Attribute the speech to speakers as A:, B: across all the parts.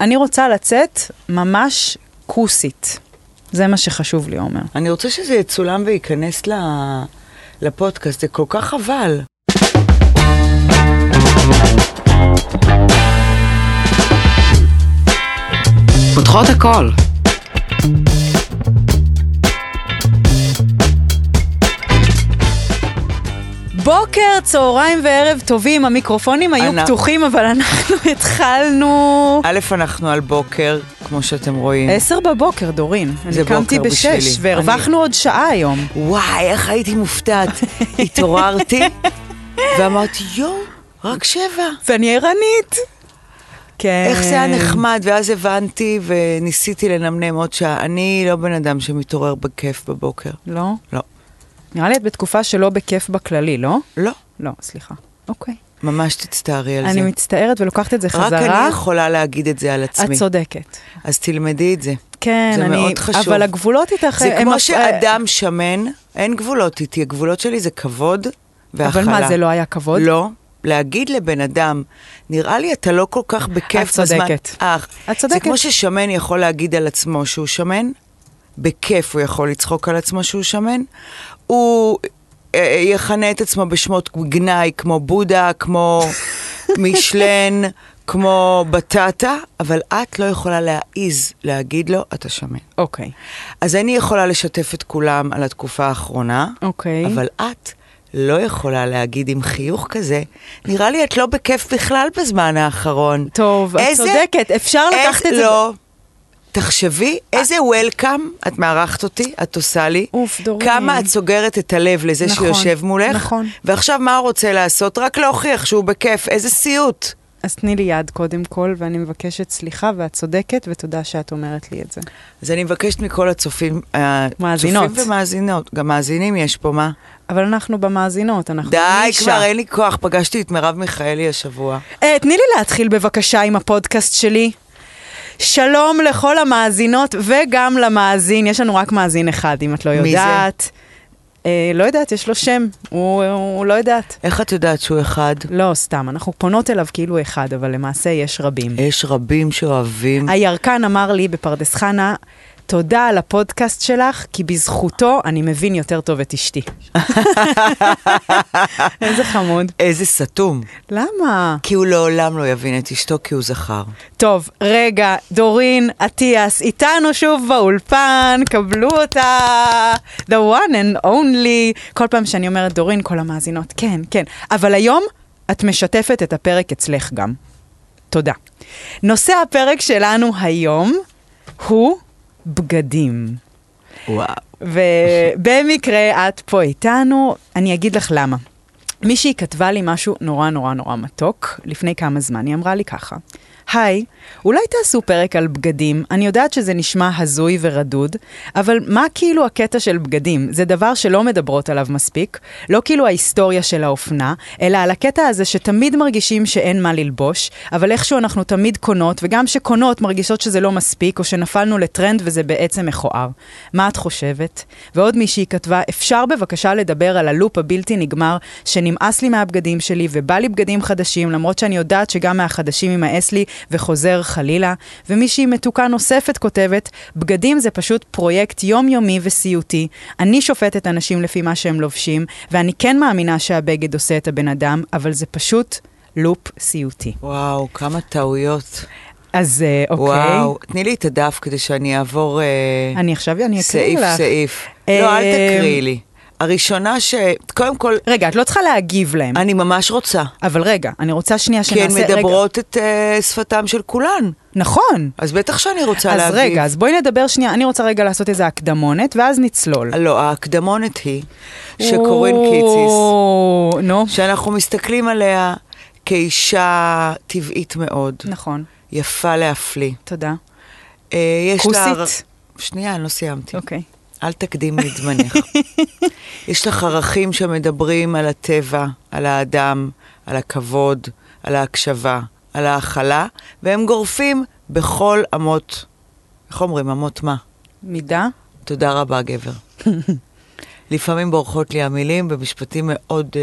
A: אני רוצה לצאת ממש כוסית. זה מה שחשוב לי, עומר.
B: אני רוצה שזה יצולם וייכנס ל- לפודקאסט, זה כל כך חבל.
C: פותחות הכל.
A: בוקר, צהריים וערב טובים, המיקרופונים היו
B: אנחנו-
A: פתוחים, אבל אנחנו התחלנו...
B: א', אנחנו על בוקר, כמו שאתם רואים.
A: עשר בבוקר, דורין. אני
B: בוקר
A: קמתי בשש,
B: בשבילי.
A: והרווחנו עוד שעה היום.
B: וואי, איך הייתי מופתעת. התעוררתי, ואמרתי, יואו, רק שבע.
A: ואני ערנית. כן.
B: איך זה היה נחמד, ואז הבנתי וניסיתי לנמנם עוד שעה. אני לא בן אדם שמתעורר בכיף בבוקר.
A: לא?
B: לא.
A: נראה לי את בתקופה שלא בכיף בכללי, לא?
B: לא,
A: לא, סליחה. אוקיי.
B: ממש תצטערי על
A: אני
B: זה.
A: מצטערת ולוקחת את זה
B: רק
A: חזרה.
B: אני יכולה להגיד את זה על עצמי.
A: את צודקת.
B: אז תלמדי את זה.
A: כן,
B: זה
A: אני...
B: מאוד חשוב.
A: אבל הגבולות איתך...
B: זה
A: הם לא
B: כמו
A: הפ-
B: שאדם שמן, אין גבולות איתי, הגבולות שלי זה כבוד והכלה.
A: אבל מה, זה לא היה כבוד?
B: לא. להגיד לבן אדם, נראה לי אתה לא כל כך בכיף
A: את
B: בזמן...
A: צודקת.
B: אך,
A: את צודקת.
B: זה כמו ששמן יכול להגיד על עצמו שהוא שמן, בכיף הוא יכול לצחוק על עצמו שהוא שמן. הוא אה, אה, יכנה את עצמו בשמות גנאי כמו בודה, כמו מישלן, כמו בטטה, אבל את לא יכולה להעיז להגיד לו, אתה שמן.
A: אוקיי.
B: אז אני יכולה לשתף את כולם על התקופה האחרונה,
A: אוקיי.
B: אבל את לא יכולה להגיד עם חיוך כזה, נראה לי את לא בכיף בכלל בזמן האחרון.
A: טוב, את
B: איזה-
A: צודקת, אפשר
B: איזה-
A: לקחת את זה-
B: לא. תחשבי, איזה וולקאם את מארחת אותי, את עושה לי.
A: אוף, דורין.
B: כמה את סוגרת את הלב לזה
A: אוקיי. נכון,
B: שיושב מולך.
A: נכון.
B: ועכשיו מה הוא רוצה לעשות? רק להוכיח שהוא בכיף, איזה סיוט.
A: אז תני לי יד קודם כל, ואני מבקשת סליחה, ואת צודקת, ותודה שאת אומרת לי את זה.
B: אז אני מבקשת מכל הצופים, אה,
A: מאזינות.
B: צופים ומאזינות, גם מאזינים יש פה, מה?
A: אבל אנחנו במאזינות, אנחנו
B: די,
A: נישה.
B: כבר אין לי כוח, פגשתי את מרב מיכאלי השבוע.
A: אה, תני לי להתחיל בבקשה עם הפודקאסט שלי. שלום לכל המאזינות וגם למאזין, יש לנו רק מאזין אחד, אם את לא
B: מי זה?
A: יודעת. אה, לא יודעת, יש לו שם, הוא, הוא לא יודעת.
B: איך את יודעת שהוא אחד?
A: לא, סתם, אנחנו פונות אליו כאילו אחד, אבל למעשה יש רבים.
B: יש רבים שאוהבים.
A: הירקן אמר לי בפרדס חנה, תודה על הפודקאסט שלך, כי בזכותו אני מבין יותר טוב את אשתי. איזה חמוד.
B: איזה סתום.
A: למה?
B: כי הוא לעולם לא יבין את אשתו, כי הוא זכר.
A: טוב, רגע, דורין אטיאס איתנו שוב באולפן, קבלו אותה. The one and only. כל פעם שאני אומרת דורין, כל המאזינות, כן, כן. אבל היום את משתפת את הפרק אצלך גם. תודה. נושא הפרק שלנו היום הוא בגדים.
B: וואו.
A: ובמקרה את פה איתנו, אני אגיד לך למה. מישהי כתבה לי משהו נורא נורא נורא מתוק לפני כמה זמן, היא אמרה לי ככה, היי, אולי תעשו פרק על בגדים, אני יודעת שזה נשמע הזוי ורדוד, אבל מה כאילו הקטע של בגדים? זה דבר שלא מדברות עליו מספיק, לא כאילו ההיסטוריה של האופנה, אלא על הקטע הזה שתמיד מרגישים שאין מה ללבוש, אבל איכשהו אנחנו תמיד קונות, וגם שקונות מרגישות שזה לא מספיק, או שנפלנו לטרנד וזה בעצם מכוער. מה את חושבת? ועוד מישהי כתבה, אפשר בבקשה לדבר על הלופ הבלתי נגמר, שנמאס לי מהבגדים שלי ובא לי בגדים חדשים, למרות שאני יודעת שגם מהחדשים יימאס לי וחוזר חלילה. ומישהי מתוקה נוספת כותבת, בגדים זה פשוט פרויקט יומיומי וסיוטי. אני שופטת אנשים לפי מה שהם לובשים, ואני כן מאמינה שהבגד עושה את הבן אדם, אבל זה פשוט לופ סיוטי.
B: וואו, כמה טעויות.
A: אז אה, אוקיי.
B: וואו. תני לי את הדף כדי שאני אעבור אה,
A: אני עכשיו, אני אקריא
B: סעיף
A: לך.
B: סעיף.
A: אה,
B: לא, אל תקריאי לי. הראשונה ש... קודם כל,
A: רגע, את לא צריכה להגיב להם.
B: אני ממש רוצה.
A: אבל רגע, אני רוצה שנייה
B: כי
A: שנעשה...
B: הן
A: רגע,
B: מדברות את אה, שפתם של כולן.
A: נכון.
B: אז בטח שאני רוצה
A: אז
B: להגיב.
A: רגע, אז בואי נדבר שנייה, אני רוצה רגע לעשות איזה הקדמונת, ואז נצלול.
B: לא, ההקדמונת היא שקורין
A: או,
B: קיציס.
A: נו,
B: שאנחנו מסתכלים עליה כאישה טבעית מאוד,
A: נכון,
B: יפה להפליא.
A: תודה.
B: אה, יש לה... הר-
A: כוסית?
B: שנייה, אני לא סיימתי.
A: אוקיי.
B: אל תקדים לי את זמנך. יש לך ערכים שמדברים על הטבע, על האדם, על הכבוד, על ההקשבה, על ההכלה, והם גורפים בכל אמות, איך אומרים, אמות מה?
A: מידה?
B: תודה רבה, גבר. לפעמים בורחות לי המילים במשפטים מאוד אה,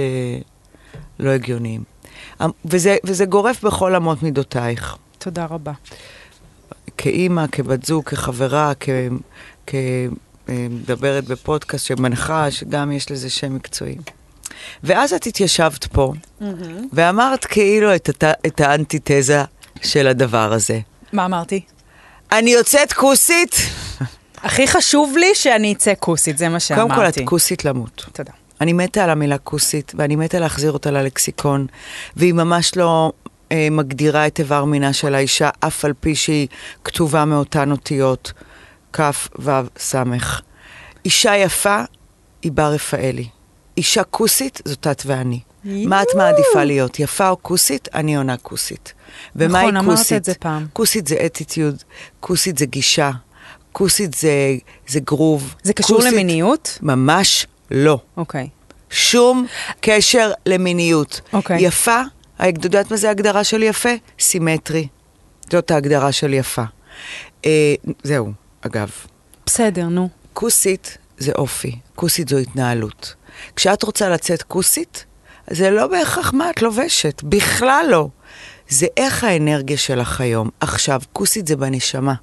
B: לא הגיוניים. אמ- וזה, וזה גורף בכל אמות מידותייך.
A: תודה רבה.
B: כאימא, כבת זוג, כחברה, כ... כ... אה, מדברת בפודקאסט שמנחה, שגם יש לזה שם מקצועי. ואז את התיישבת פה, ואמרת כאילו את, הת... את האנטיתזה של הדבר הזה.
A: מה אמרתי?
B: אני יוצאת כוסית?
A: הכי חשוב לי שאני אצא כוסית, זה מה שאמרתי.
B: קודם כל, את כוסית למות.
A: תודה.
B: אני מתה על המילה כוסית, ואני מתה להחזיר אותה ללקסיקון, והיא ממש לא אה, מגדירה את איבר מינה של האישה, אף על פי שהיא כתובה מאותן אותיות, כף, וו, סמך. אישה יפה היא בר רפאלי. אישה כוסית זאת את ואני. מה את
A: יואו.
B: מעדיפה להיות, יפה או כוסית? אני עונה כוסית. ומה
A: נכון, אמרת
B: היא
A: את
B: כוסית?
A: זה פעם.
B: כוסית זה אטיטיוד, כוסית זה גישה, כוסית זה, זה גרוב.
A: זה קשור
B: כוסית-
A: למיניות?
B: ממש לא.
A: אוקיי.
B: שום קשר למיניות.
A: אוקיי.
B: יפה, ה- את יודעת מה זה ההגדרה של יפה? סימטרי. זאת ההגדרה של יפה. אה, זהו, אגב.
A: בסדר, נו.
B: אה, כוסית זה אופי, כוסית זו התנהלות. כשאת רוצה לצאת כוסית, זה לא בהכרח מה את לובשת, בכלל לא. זה איך האנרגיה שלך היום. עכשיו, כוסית זה בנשמה.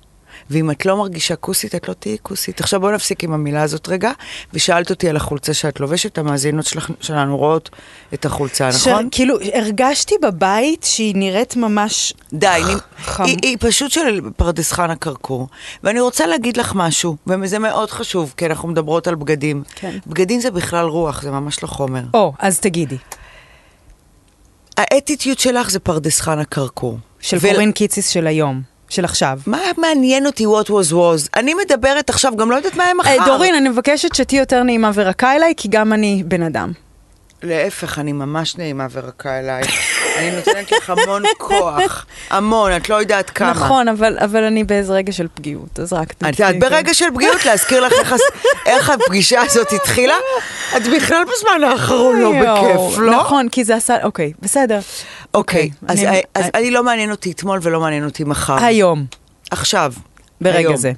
B: ואם את לא מרגישה כוסית, את לא תהיי כוסית. עכשיו בואו נפסיק עם המילה הזאת רגע, ושאלת אותי על החולצה שאת לובשת, המאזינות שלך, שלנו רואות את החולצה, נכון?
A: ש- כאילו, הרגשתי בבית שהיא נראית ממש...
B: די, אני...
A: אה, חם.
B: היא, היא פשוט של פרדס חנה כרכור. ואני רוצה להגיד לך משהו, וזה מאוד חשוב, כי אנחנו מדברות על בגדים.
A: כן.
B: בגדים זה בכלל רוח, זה ממש לא חומר.
A: או, אז תגידי.
B: האטיטיוד שלך זה פרדס חנה כרכור.
A: של
B: ול-
A: קורין קיציס של היום. של עכשיו.
B: מה מעניין אותי what was was? אני מדברת עכשיו, גם לא יודעת מה הם מחר.
A: אה, דורין, אני מבקשת שתהיי יותר נעימה ורכה אליי, כי גם אני בן אדם.
B: להפך, אני ממש נעימה ורכה אליי. אני נותנת לך המון כוח. המון, את לא יודעת כמה.
A: נכון, אבל, אבל אני באיזה רגע של פגיעות, אז רק...
B: את יודעת, ברגע של פגיעות, להזכיר לך איך הס- איך הפגישה הזאת התחילה? את בכלל בזמן האחרון לא
A: יואו,
B: בכיף, לא?
A: נכון, כי זה עשה... אוקיי, בסדר.
B: אוקיי, אז
A: אני-
B: אז אני לא מעניין אותי אתמול ולא מעניין אותי מחר.
A: היום,
B: עכשיו.
A: ברגע
B: אה, היום.
A: זה.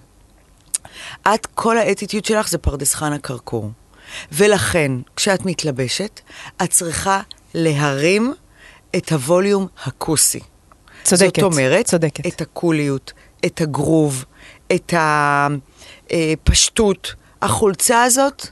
B: את, כל האטיטיוד שלך זה פרדס חנה כרכור. ולכן, כשאת מתלבשת, את צריכה להרים את הווליום הכוסי.
A: צודקת.
B: זאת אומרת,
A: צודקת.
B: את הקוליות, את הגרוב, את הפשטות. החולצה הזאת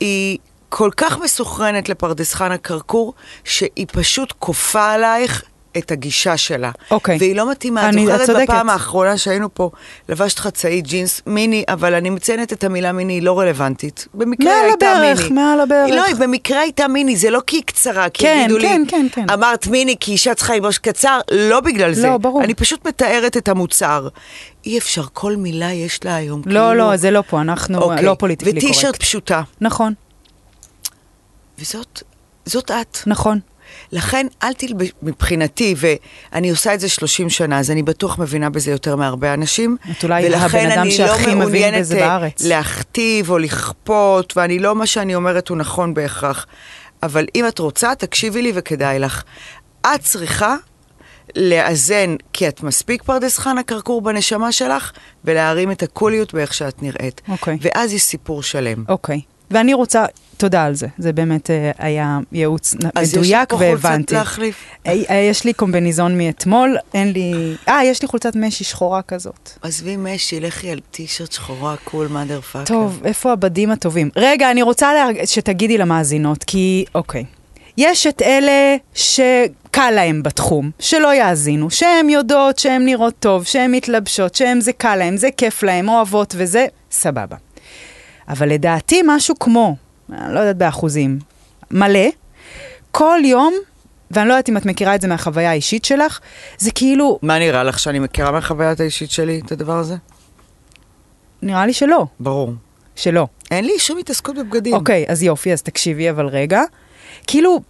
B: היא כל כך מסוכרנת לפרדס חנה כרכור, שהיא פשוט כופה עלייך את הגישה שלה.
A: אוקיי.
B: והיא לא מתאימה. את
A: אני- את
B: זוכרת
A: צודקת.
B: בפעם האחרונה שהיינו פה, לבשת חצאי ג'ינס מיני, אבל אני מציינת את המילה מיני, היא לא רלוונטית. במקרה
A: מעל
B: הייתה
A: הברך,
B: מיני.
A: מעל הברך.
B: לא, היא במקרה הייתה מיני, זה לא כי היא קצרה, כי
A: כן,
B: יגידו לי,
A: כן, כן, כן.
B: אמרת מיני כי אישה צריכה ללבוש קצר, לא בגלל זה.
A: לא, ברור.
B: אני פשוט מתארת את המוצר. אי אפשר, כל מילה יש לה היום. כאילו-
A: לא, לא, זה לא פה, אנחנו
B: אוקיי.
A: לא פוליטיקלי
B: וטישרט
A: קורקט.
B: פשוטה.
A: נכון,
B: וזאת, זאת את.
A: נכון.
B: לכן אל תלבש, מבחינתי, ואני עושה את זה 30 שנה, אז אני בטוח מבינה בזה יותר מהרבה אנשים.
A: את אולי
B: ולכן
A: הבן אדם
B: אני
A: שהכי מבין
B: מעוניינת,
A: בזה
B: אה,
A: בארץ.
B: להכתיב או לכפות, ואני לא, מה שאני אומרת הוא נכון בהכרח. אבל אם את רוצה, תקשיבי לי וכדאי לך. את צריכה לאזן, כי את מספיק פרדס חנה כרכור בנשמה שלך, ולהרים את הקוליות באיך שאת נראית.
A: אוקיי.
B: ואז יש סיפור שלם.
A: אוקיי. ואני רוצה, תודה על זה. זה באמת אה, היה ייעוץ נ-
B: אז יש לי
A: מדויק
B: פה חולצת
A: והבנתי.
B: להחליף.
A: אה, אה, יש לי קומבניזון מאתמול, אין לי... אה, יש לי חולצת משי שחורה כזאת.
B: עזבי משי, לכי על טישרט שחורה, קול, מאדר פאקר.
A: טוב, איפה הבדים הטובים? רגע, אני רוצה להרג... שתגידי למאזינות, כי... אוקיי. יש את אלה שקל להם בתחום, שלא יאזינו, שהן יודעות, שהן נראות טוב, שהן מתלבשות, שהן זה קל להם, זה כיף להם, אוהבות וזה, סבבה. אבל לדעתי משהו כמו, אני לא יודעת באחוזים, מלא, כל יום, ואני לא יודעת אם את מכירה את זה מהחוויה האישית שלך, זה כאילו,
B: מה נראה לך, שאני מכירה מהחוויית האישית שלי את הדבר הזה?
A: נראה לי שלא,
B: ברור.
A: שלא.
B: אין לי שום התעסקות בבגדים.
A: אוקיי, אז יופי, אז תקשיבי אבל רגע. כאילו,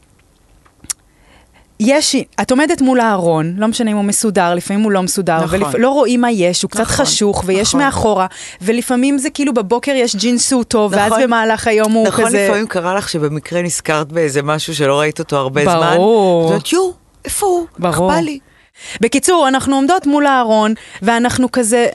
A: יש, את עומדת מול הארון, לא משנה אם הוא מסודר, לפעמים הוא לא מסודר,
B: נכון.
A: ולפ... לא רואים מה יש, הוא קצת
B: נכון,
A: חשוך, ויש
B: נכון.
A: מאחורה, ולפעמים זה כאילו בבוקר יש ג'ינסו טוב, ואז
B: נכון.
A: במהלך היום הוא
B: נכון,
A: כזה...
B: לפעמים קרה לך שבמקרה נזכרת באיזה משהו שלא ראית אותו הרבה
A: ברור.
B: זמן. ברור. זאת יו, איפה הוא?
A: ברור.
B: אכפה לי.
A: בקיצור, אנחנו עומדות מול הארון, ואנחנו כזה...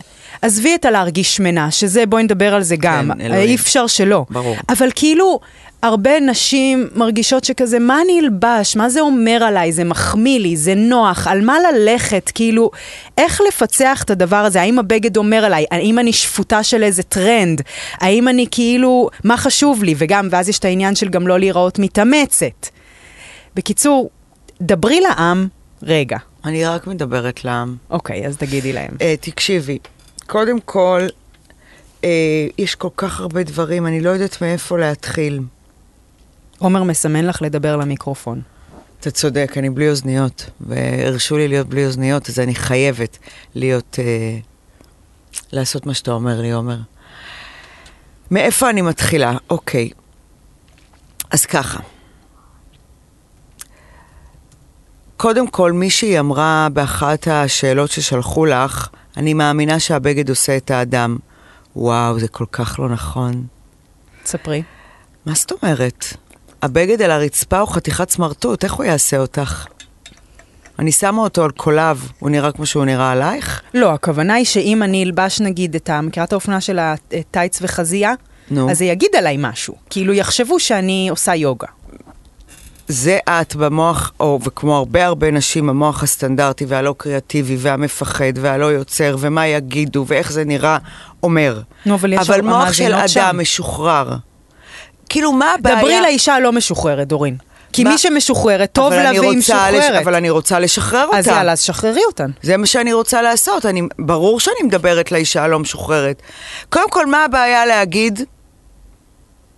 A: עזבי את הלהרגיש שמנה, שזה, בואי נדבר על זה גם.
B: כן, אלוהים.
A: אי אפשר שלא.
B: ברור.
A: אבל כאילו, הרבה נשים מרגישות שכזה, מה אני אלבש? מה זה אומר עליי? זה מחמיא לי, זה נוח, על מה ללכת? כאילו, איך לפצח את הדבר הזה? האם הבגד אומר עליי? האם אני שפוטה של איזה טרנד? האם אני כאילו, מה חשוב לי? וגם, ואז יש את העניין של גם לא להיראות מתאמצת. בקיצור, דברי לעם רגע.
B: אני רק מדברת לעם.
A: אוקיי, אז תגידי להם.
B: אה, תקשיבי, קודם כל, אה, יש כל כך הרבה דברים, אני לא יודעת מאיפה להתחיל.
A: עומר מסמן לך לדבר למיקרופון.
B: אתה צודק, אני בלי אוזניות, והרשו לי להיות בלי אוזניות, אז אני חייבת להיות... אה, לעשות מה שאתה אומר לי, עומר. מאיפה אני מתחילה? אוקיי. אז ככה. קודם כל, מישהי אמרה באחת השאלות ששלחו לך, אני מאמינה שהבגד עושה את האדם. וואו, זה כל כך לא נכון.
A: ספרי.
B: מה זאת אומרת? הבגד על הרצפה הוא חתיכת סמרטוט, איך הוא יעשה אותך? אני שמה אותו על קולב, הוא נראה כמו שהוא נראה עלייך?
A: לא, הכוונה היא שאם אני אלבש נגיד את ה... מכירה את האופנה של הטייץ וחזייה?
B: נו.
A: אז זה יגיד עליי משהו. כאילו יחשבו שאני עושה יוגה.
B: זה את במוח, או וכמו הרבה הרבה נשים, המוח הסטנדרטי והלא קריאטיבי והמפחד והלא יוצר, ומה יגידו ואיך זה נראה, אומר.
A: נו, אבל יש
B: אבל
A: הרבה
B: מוח של אדם
A: מאזינות שם.
B: משוחרר. כאילו, מה הבעיה?
A: דברי לאישה הלא משוחררת, דורין. כי
B: מה-
A: מי שמשוחררת, טוב
B: אבל
A: לה
B: אני
A: והיא
B: רוצה לש-
A: משוחררת.
B: אבל אני רוצה לשחרר אותה.
A: אז יאללה, אז שחררי אותן.
B: זה מה שאני רוצה לעשות. אני, ברור שאני מדברת לאישה הלא משוחררת. קודם כל, מה הבעיה להגיד?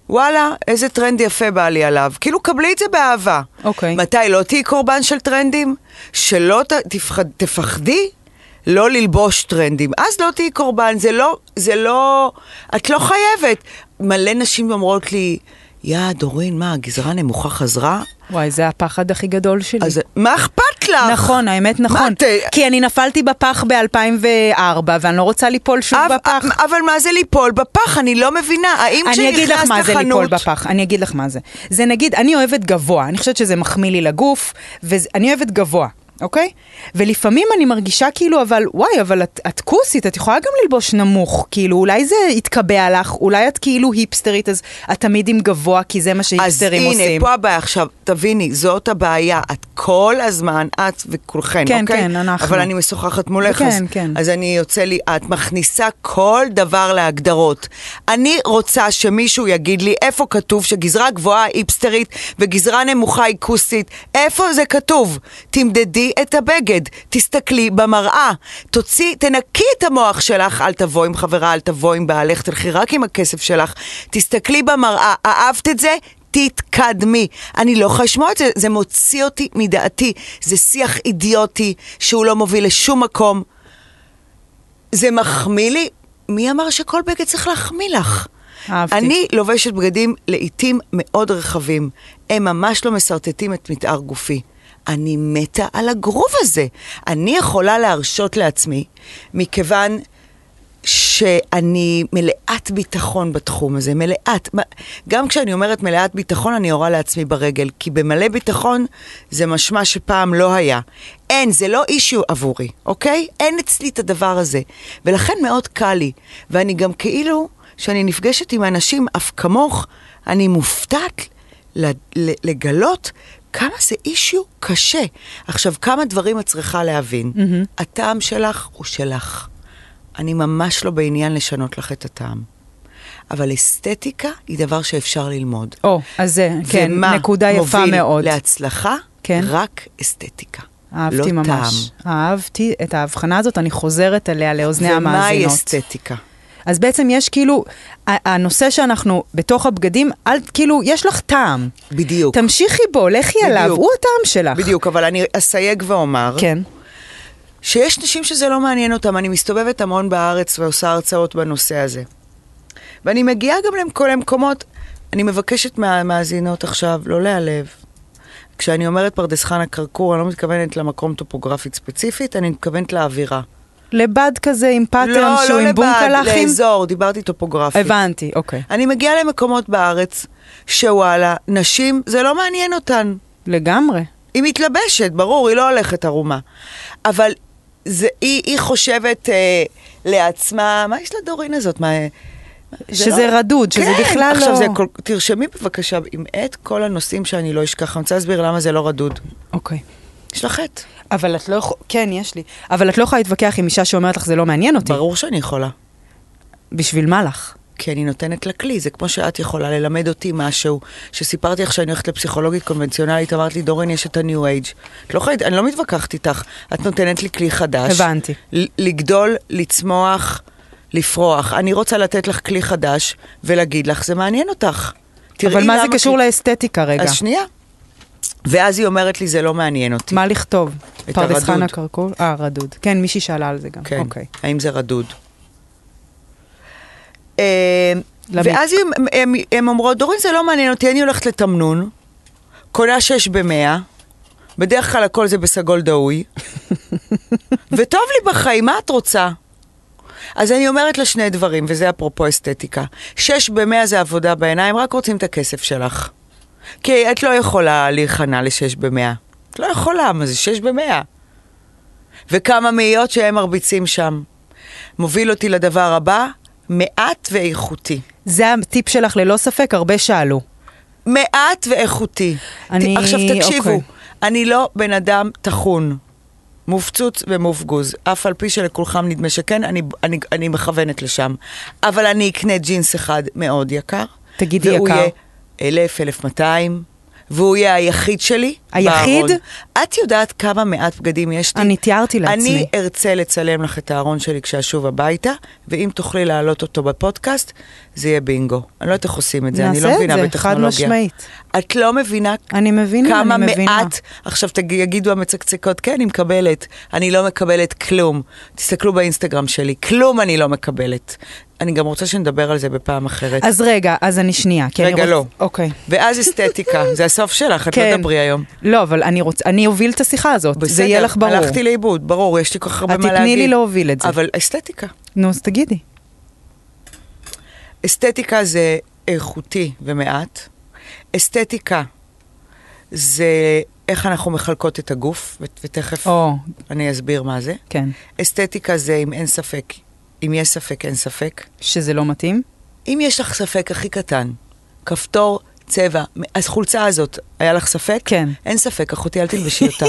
B: וואלה, איזה טרנד יפה בא לי עליו. כאילו, קבלי את זה באהבה.
A: אוקיי.
B: מתי לא תהיי קורבן של טרנדים? שלא ת, תפחד, תפחדי לא ללבוש טרנדים. אז לא תהיי קורבן, זה לא, זה לא, את לא חייבת. מלא נשים אומרות לי, יא, דורין, מה, הגזרה נמוכה חזרה?
A: וואי, זה הפחד הכי גדול שלי.
B: אז מה אכפת לך?
A: נכון, האמת
B: מה
A: נכון.
B: את-
A: כי אני נפלתי בפח ב-2004, ואני לא רוצה ליפול שוב
B: אב-
A: בפח.
B: אב- אבל מה זה ליפול בפח? אני לא מבינה. האם
A: אני אגיד לך
B: כשנכנסת
A: מה זה ליפול
B: לחנות...
A: בפח, אני אגיד לך מה זה. זה נגיד, אני אוהבת גבוה, אני חושבת שזה מחמיא לי לגוף, ואני אוהבת גבוה, אוקיי? ולפעמים אני מרגישה כאילו, אבל וואי, אבל את, את כוסית, את יכולה גם ללבוש נמוך, כאילו, אולי זה יתקבע לך, אולי את כאילו היפסטרית, אז את תמיד עם גבוה, כי זה מה
B: אז
A: שהיפסטרים
B: הנה,
A: עושים.
B: פה הבעיה עכשיו, תביני, זאת הבעיה. את כל הזמן, את וכולכן,
A: כן,
B: אוקיי?
A: כן, אנחנו.
B: אבל אני משוחחת מולך,
A: כן,
B: אז,
A: כן.
B: אז אני יוצא לי, את מכניסה כל דבר להגדרות. אני רוצה שמישהו יגיד לי איפה כתוב שגזרה גבוהה היא היפסטרית וגזרה נמוכה היא כוסית. איפה זה כתוב? תמדדי את הבגד, תסתכלי במראה, תוציא, תנקי את המוח שלך, אל תבוא עם חברה, אל תבוא עם בעלך, תלכי רק עם הכסף שלך. תסתכלי במראה, אהבת את זה? תתקדמי. אני לא יכולה לשמוע את זה, זה מוציא אותי מדעתי. זה שיח אידיוטי שהוא לא מוביל לשום מקום. זה מחמיא לי? מי אמר שכל בגד צריך להחמיא לך?
A: אהבתי.
B: אני לובשת בגדים לעיתים מאוד רחבים. הם ממש לא משרטטים את מתאר גופי. אני מתה על הגרוב הזה. אני יכולה להרשות לעצמי, מכיוון שאני מלאת ביטחון בתחום הזה, מלאת. מה- גם כשאני אומרת מלאת ביטחון, אני יורה לעצמי ברגל, כי במלא ביטחון זה משמע שפעם לא היה. אין, זה לא אישיו עבורי, אוקיי? אין אצלי את הדבר הזה. ולכן מאוד קל לי. ואני גם כאילו, כשאני נפגשת עם אנשים, אף כמוך, אני מופתעת ל- ל- לגלות כמה זה אישיו קשה. עכשיו, כמה דברים את צריכה להבין. Mm-hmm. הטעם שלך הוא שלך. אני ממש לא בעניין לשנות לך את הטעם. אבל אסתטיקה היא דבר שאפשר ללמוד.
A: או, אז זה, כן,
B: ומה
A: נקודה יפה
B: מוביל
A: מאוד.
B: להצלחה?
A: כן.
B: רק אסתטיקה.
A: אהבתי
B: לא
A: ממש.
B: טעם.
A: אהבתי את ההבחנה הזאת, אני חוזרת אליה לאוזני
B: ומהי
A: המאזינות.
B: אסתטיקה?
A: אז בעצם יש כאילו, ה- הנושא שאנחנו בתוך הבגדים, אל, כאילו, יש לך טעם.
B: בדיוק.
A: תמשיכי בו, לכי
B: בדיוק.
A: עליו, הוא הטעם שלך.
B: בדיוק, אבל אני אסייג ואומר,
A: כן.
B: שיש נשים שזה לא מעניין אותן, אני מסתובבת המון בארץ ועושה הרצאות בנושא הזה. ואני מגיעה גם לכל המקומות, אני מבקשת מהמאזינות עכשיו לא להיעלב. כשאני אומרת פרדס חנה כרכור, אני לא מתכוונת למקום טופוגרפית ספציפית, אני מתכוונת לאווירה.
A: לבד כזה עם פאטרן שהוא עם
B: לא לבד,
A: בונקלחים?
B: לאזור, דיברתי טופוגרפית.
A: הבנתי, אוקיי,
B: אני מגיעה למקומות בארץ, שוואלה, נשים, זה לא מעניין אותן.
A: לגמרי.
B: היא מתלבשת, ברור, היא לא הולכת ערומה. אבל זה, היא, היא חושבת אה, לעצמה, מה יש לדורין הזאת? מה, זה
A: שזה רדוד, שזה
B: כן,
A: בכלל
B: עכשיו
A: לא-
B: זה כל... תרשמי בבקשה, עם את כל הנושאים שאני לא אשכח, אני רוצה להסביר למה זה לא רדוד.
A: אוקיי.
B: יש לך חטא.
A: אבל את לא יכולה, כן, יש לי. אבל את לא יכולה להתווכח עם אישה שאומרת לך זה לא מעניין אותי.
B: ברור שאני יכולה.
A: בשביל מה לך?
B: כי אני נותנת לה כלי, זה כמו שאת יכולה ללמד אותי משהו. שסיפרתי לך שאני הולכת לפסיכולוגית קונבנציונלית, אמרת לי, דורין, יש את ה-new age. את לא יכולה, אני לא מתווכחת איתך, את נותנת לי כלי חדש.
A: הבנתי.
B: ל- לגדול, לצמוח, לפרוח. אני רוצה לתת לך כלי חדש ולהגיד לך, זה מעניין אותך. תראי
A: אבל מה
B: למה
A: זה קשור
B: כלי-"
A: לאסתטיקה רגע?
B: אז שנייה. ואז היא אומרת לי, זה לא מעניין אותי.
A: מה לכתוב?
B: את
A: פרדס
B: הרדוד.
A: חנה כרכור? אה, רדוד. כן, מישהי שאלה על זה גם.
B: כן.
A: אוקיי.
B: האם זה רדוד? אה,
A: למי?
B: ואז הם, הם, הם אומרות, דורין, זה לא מעניין אותי, אני הולכת לתמנון, קונה שש במאה, בדרך כלל הכל זה בסגול דהוי, וטוב לי בחיים, מה את רוצה? אז אני אומרת לה שני דברים, וזה אפרופו אסתטיקה. שש במאה זה עבודה בעיניים, רק רוצים את הכסף שלך. כי את לא יכולה להיכנע לשש במאה. את לא יכולה, מה זה שש במאה? וכמה מאיות שהם מרביצים שם. מוביל אותי לדבר הבא, מעט ואיכותי.
A: זה הטיפ שלך ללא ספק, הרבה שאלו.
B: מעט ואיכותי.
A: אני-
B: ת- עכשיו תקשיבו,
A: אוקיי.
B: אני לא בן אדם טחון. מופצוץ ומופגוז, אף על פי שלכולכם נדמה שכן, אני, אני, אני מכוונת לשם. אבל אני אקנה ג'ינס אחד מאוד יקר.
A: תגידי
B: והוא
A: יקר.
B: יהיה אלף, אלף מאתיים, והוא יהיה היחיד שלי.
A: היחיד?
B: בארון. את יודעת כמה מעט בגדים יש לי?
A: אני תיארתי לעצמי.
B: אני ארצה לצלם לך את הארון שלי כשאשוב הביתה, ואם תוכלי להעלות אותו בפודקאסט, זה יהיה בינגו. אני לא יודעת איך עושים את זה, אני לא
A: נעשה את
B: מבינה
A: זה, חד
B: בטכנולוגיה.
A: משמעית.
B: את לא מבינה
A: אני מבינה,
B: כמה
A: אני מבינה.
B: מעט, עכשיו תג- יגידו המצקצקות, כן, אני מקבלת, אני לא מקבלת כלום. תסתכלו באינסטגרם שלי, כלום אני לא מקבלת. אני גם רוצה שנדבר על זה בפעם אחרת.
A: אז רגע, אז אני שנייה. כי אני
B: רגע,
A: רוצ-
B: לא.
A: אוקיי.
B: ואז אסתטיקה, זה הסוף שלך, את לא תדברי היום.
A: לא, אבל אני רוצה, אני אוביל את השיחה הזאת, זה יהיה לך ברור.
B: הלכתי לאיבוד, ברור, יש לי כל כך הרבה
A: את
B: מה להגיד.
A: תתני לי לא- להוביל את זה.
B: אבל אסתטיקה.
A: נו, אז תגידי.
B: אסתטיקה זה איכותי ומעט. אסתטיקה זה איך אנחנו מחלקות את הגוף, ו- ותכף
A: או,
B: אני אסביר מה זה.
A: כן.
B: אסתטיקה זה אם אין ספק, אם יש ספק, אין ספק.
A: שזה לא מתאים?
B: אם יש לך ספק הכי קטן, כפתור, צבע, אז חולצה הזאת, היה לך ספק?
A: כן.
B: אין ספק, אחותי, אל תלבשי אותה.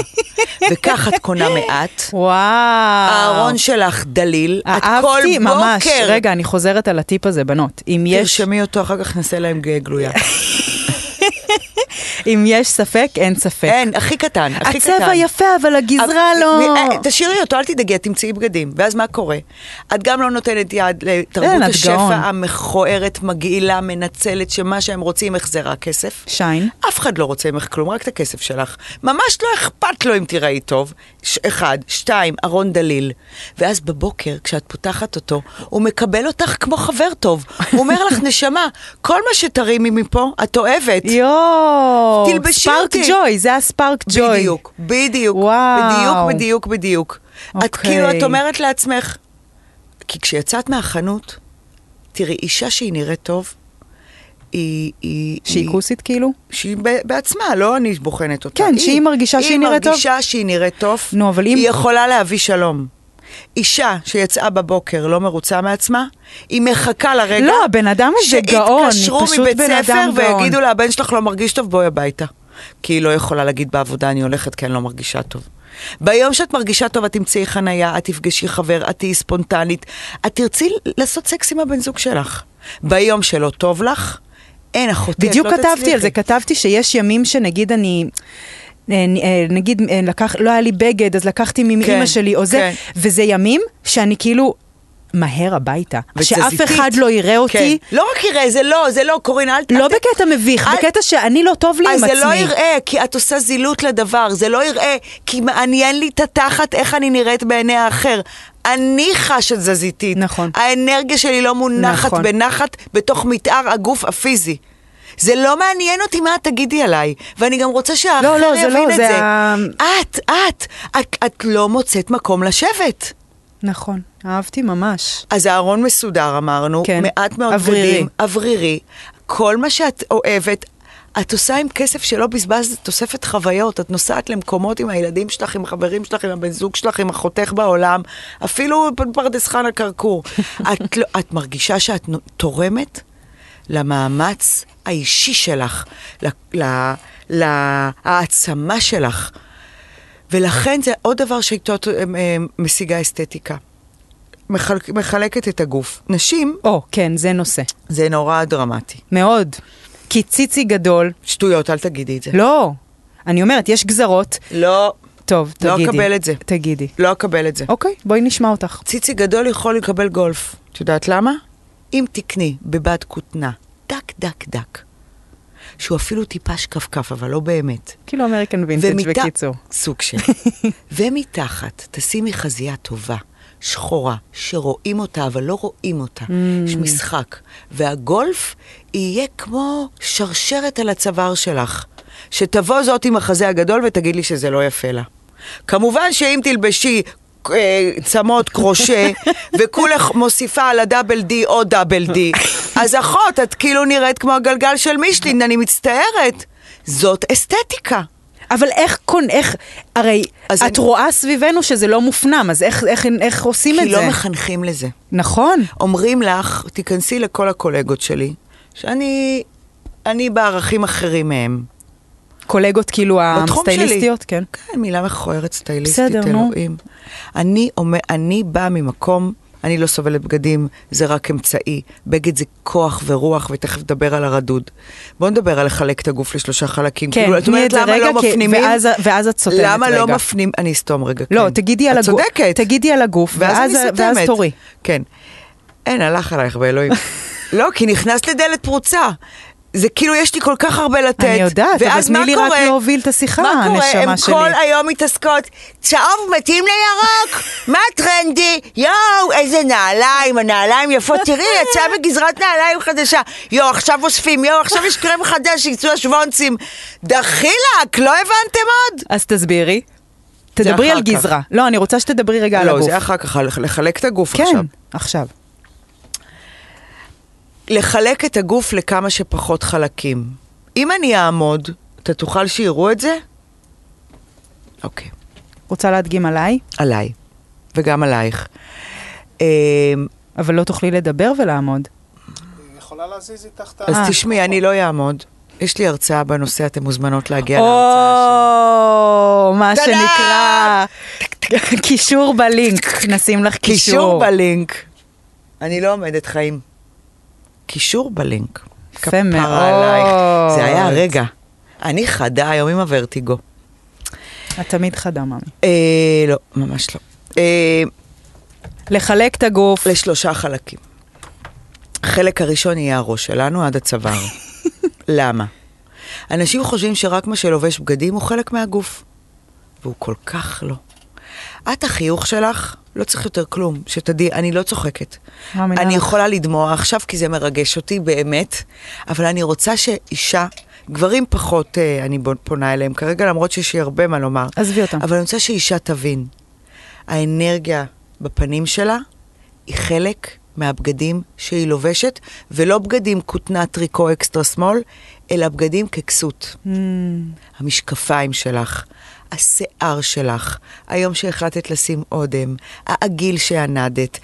B: וכך את קונה מעט.
A: וואו.
B: הארון שלך דליל, את כל
A: אהבתי ממש.
B: בוקר.
A: רגע, אני חוזרת על הטיפ הזה, בנות. אם יש,
B: תרשמי אותו, אחר כך נעשה להם גאה גלויה.
A: אם יש ספק, אין ספק.
B: אין, הכי קטן, אה, הכי קטן.
A: הצבע יפה, אבל הגזרה
B: אבל-
A: לא...
B: אה, תשאירי אותו, אל תדאגי, את תמצאי בגדים. ואז מה קורה? את גם לא נותנת יד
A: כן,
B: לתרבות
A: את גאון.
B: השפע המכוערת, מגעילה, מנצלת, שמה שהם רוצים ממך זה רק כסף.
A: שיין.
B: אף אחד לא רוצה ממך כלום, רק את הכסף שלך. ממש לא אכפת לו אם תיראי טוב. ש- אחד, שתיים, ארון דליל. ואז בבוקר, כשאת פותחת אותו, הוא מקבל אותך כמו חבר טוב. הוא אומר לך, נשמה, כל מה שתרימי מפה, את אוהבת.
A: יואו.
B: תלבשי
A: ספארק
B: אותי.
A: ג'וי, זה הספארק ג'וי.
B: בדיוק, בדיוק,
A: וואו.
B: בדיוק, בדיוק, בדיוק. את
A: אוקיי.
B: כאילו, את אומרת לעצמך, כי כשיצאת מהחנות, תראי, אישה שהיא נראית טוב, היא... היא
A: שהיא
B: היא-
A: כוסית כאילו?
B: שהיא ב- בעצמה, לא אני בוחנת אותה.
A: כן, שהיא מרגישה שהיא נראית טוב.
B: היא מרגישה שהיא נראית טוב.
A: נו, אבל אם-
B: היא יכולה להביא שלום. אישה שיצאה בבוקר לא מרוצה מעצמה, היא מחכה לרגע...
A: לא, הבן אדם הזה גאון, היא
B: שיתקשרו
A: פשוט
B: מבית
A: בן
B: ספר
A: אדם גאון.
B: ויגידו לה, הבן שלך לא מרגיש טוב, בואי הביתה. כי היא לא יכולה להגיד בעבודה, אני הולכת כי אני לא מרגישה טוב. ביום שאת מרגישה טוב, את תמצאי חנייה, את תפגשי חבר, את תהיי ספונטנית. את תרצי לעשות סקס עם הבן זוג שלך. ביום שלא טוב לך, אין אחותי, את
A: בדיוק
B: לא
A: כתבתי על
B: תצליחי.
A: זה, כתבתי שיש ימים שנגיד אני... אה, אה, נגיד, אה, לקח, לא היה לי בגד, אז לקחתי
B: כן,
A: מאימא שלי או זה,
B: כן.
A: וזה ימים שאני כאילו מהר הביתה. שאף
B: ותזזיתית.
A: אחד לא יראה אותי,
B: כן. לא רק יראה, זה לא, זה לא, קורין, אל...
A: לא
B: אל ת-
A: בקטע מביך,
B: אל-
A: בקטע שאני לא טוב לי עם
B: אז
A: עצמי.
B: זה לא יראה, כי את עושה זילות לדבר, זה לא יראה, כי מעניין לי את התחת, איך אני נראית בעיני האחר. אני חשת זזיתית.
A: נכון.
B: האנרגיה שלי לא מונחת
A: נכון.
B: בנחת בתוך מתאר הגוף הפיזי. זה לא מעניין אותי מה את תגידי עליי, ואני גם רוצה שהאחר
A: לא, לא, זה
B: יבין
A: לא,
B: את
A: זה
B: זה.
A: ה-
B: את, את, את, את לא מוצאת מקום לשבת.
A: נכון, אהבתי ממש.
B: אז הארון מסודר, אמרנו,
A: כן.
B: כן. מעט מאוד
A: אוורירי.
B: בגדים, אוורירי. כל מה שאת אוהבת, את עושה עם כסף שלא בזבזת תוספת חוויות, את נוסעת למקומות עם הילדים שלך, עם החברים שלך, עם הבן זוג שלך, עם החותך בעולם, אפילו בפרדס חנה כרכור. את, לא, את מרגישה שאת נו- תורמת למאמץ האישי שלך, ל- ל- להעצמה שלך. ולכן זה עוד דבר שאיתו את אה, אה, משיגה אסתטיקה. מחלק, מחלקת את הגוף. נשים,
A: או, כן, זה נושא.
B: זה נורא דרמטי.
A: מאוד. כי ציצי גדול,
B: כן. שטויות, אל תגידי את זה.
A: לא. אני אומרת, יש גזרות.
B: לא,
A: טוב,
B: לא
A: תגידי.
B: אקבל את זה.
A: תגידי.
B: לא אקבל את זה.
A: אוקיי, בואי נשמע אותך.
B: ציצי גדול יכול לקבל גולף. את יודעת למה? אם תקני בבת כותנה, דק דק דק, שהוא אפילו טיפה שקפקף, אבל לא באמת.
A: כאילו אמריקן וינטג'
B: ומתה-
A: בקיצור.
B: סוג של. ומתחת, תשימי חזייה טובה, שחורה, שרואים אותה, אבל לא רואים אותה. יש משחק. והגולף יהיה כמו שרשרת על הצוואר שלך. שתבוא זאת עם החזה הגדול ותגיד לי שזה לא יפה לה. כמובן שאם תלבשי... אה, צמות קרושה, וכולך מוסיפה על הדאבל די עוד דאבל די. אז אחות, את כאילו נראית כמו הגלגל של מישלין, אני מצטערת. זאת אסתטיקה.
A: אבל איך קונ... איך... הרי את
B: אז אני-
A: רואה סביבנו שזה לא מופנם, אז איך, איך, איך עושים את
B: כי
A: זה?
B: לא מחנכים לזה.
A: נכון.
B: אומרים לך, תיכנסי לכל הקולגות שלי, שאני אני בערכים אחרים מהם.
A: קולגות כאילו
B: בתחום שלי.
A: הסטייליסטיות, כן.
B: כן, מילה מכוערת סטייליסטית,
A: בסדר, נו.
B: אלוהים. אני, אומר, אני באה ממקום, אני לא סובלת בגדים, זה רק אמצעי. בגד זה כוח ורוח, ותכף נדבר על הרדוד. בואו נדבר על לחלק את הגוף לשלושה חלקים.
A: כן,
B: כאילו, את
A: תני
B: אומרת
A: את זה
B: למה
A: רגע,
B: לא
A: כי-
B: מפנימים?
A: ואז- ואז את סותמת
B: למה לא
A: רגע.
B: מפנים... אני אסתום רגע.
A: לא,
B: כן.
A: תגידי על
B: את
A: הגוף.
B: צודקת.
A: תגידי על הגוף,
B: ואז אני
A: ואז-
B: סותמת.
A: ואז תורי.
B: כן. אין, הלך עלייך באלוהים. לא, כי נכנסת לדלת פרוצה. זה כאילו, יש לי כל כך הרבה לתת.
A: אני יודעת, אבל
B: ואז
A: תני
B: מה
A: לי רק
B: קורה?
A: להוביל את השיחה,
B: מה קורה?
A: הנשמה
B: הם
A: שלי.
B: כל היום מתעסקות, צהוב מתאים לירוק, מה טרנדי? יואו, איזה נעליים, הנעליים יפות, תראי, יצאה בגזרת נעליים חדשה. יואו, עכשיו אוספים, יואו, עכשיו יש קרם חדש, יצאו השוונצים. דחילק, לא הבנתם עוד?
A: אז תסבירי. תדברי
B: אחר
A: על
B: כך.
A: גזרה. לא, אני רוצה שתדברי רגע על
B: לא,
A: הגוף.
B: זה אחר כך, לחלק את הגוף
A: כן,
B: עכשיו.
A: עכשיו.
B: לחלק את הגוף לכמה שפחות חלקים. אם אני אעמוד, אתה תוכל שיראו את זה? אוקיי.
A: רוצה להדגים עליי,
B: עליי, וגם עלייך. אמ,
A: אבל לא תוכלי לדבר ולעמוד.
D: היא יכולה להזיז איתך את ה...
B: אז
A: אה.
B: תשמעי, אני לא אעמוד. יש לי הרצאה בנושא, אתן מוזמנות להגיע להרצאה
A: או, מה
B: טאדאם!
A: שנקרא, קישור בלינק, נשים לך
B: שלי. קישור
A: קישור.
B: בלינק. אני לא עומדת חיים. קישור בלינק.
A: יפה
B: כפרה
A: מאוד.
B: עלייך. זה היה הרגע. אני חדה היום עם הוורטיגו.
A: את תמיד חדה, מאמי.
B: אה, לא, ממש לא. אה,
A: לחלק את הגוף.
B: לשלושה חלקים. החלק הראשון יהיה הראש שלנו עד הצוואר. למה? אנשים חושבים שרק מה שלובש בגדים הוא חלק מהגוף, והוא כל כך לא. את החיוך שלך, לא צריך יותר כלום, שתדעי, אני לא צוחקת.
A: מאמינה
B: אני
A: לך.
B: יכולה לדמוע עכשיו כי זה מרגש אותי באמת, אבל אני רוצה שאישה, גברים פחות אה, אני בו- פונה אליהם כרגע, למרות שיש לי הרבה מה לומר.
A: עזבי אותם.
B: אבל אני רוצה שאישה תבין, האנרגיה בפנים שלה היא חלק מהבגדים שהיא לובשת, ולא בגדים כותנה, טריקו, אקסטרה שמאל, אלא בגדים ככסות.
A: Mm,
B: המשקפיים שלך, השיער שלך, היום שהחלטת לשים אודם, העגיל שענדת.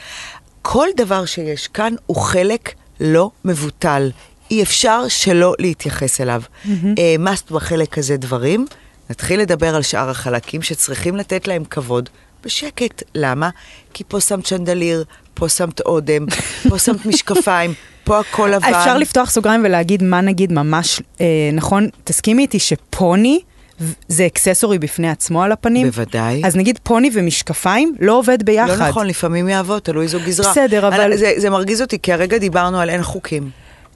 B: כל דבר שיש כאן הוא חלק לא מבוטל. אי אפשר שלא להתייחס אליו. העמסת בחלק הזה דברים, נתחיל לדבר על שאר החלקים שצריכים לתת להם כבוד בשקט. למה? כי פה שמת שנדליר, פה שמת אודם, פה שמת משקפיים, פה הכל לבן.
A: אפשר לפתוח סוגריים ולהגיד מה נגיד ממש אה, נכון. תסכימי איתי שפוני ו- זה אקססורי בפני עצמו על הפנים?
B: בוודאי.
A: אז נגיד פוני ומשקפיים לא עובד ביחד.
B: לא נכון, לפעמים יעבוד, תלוי איזו גזרה.
A: בסדר, אבל-
B: אני- זה, זה מרגיז אותי, כי הרגע דיברנו על אין חוקים.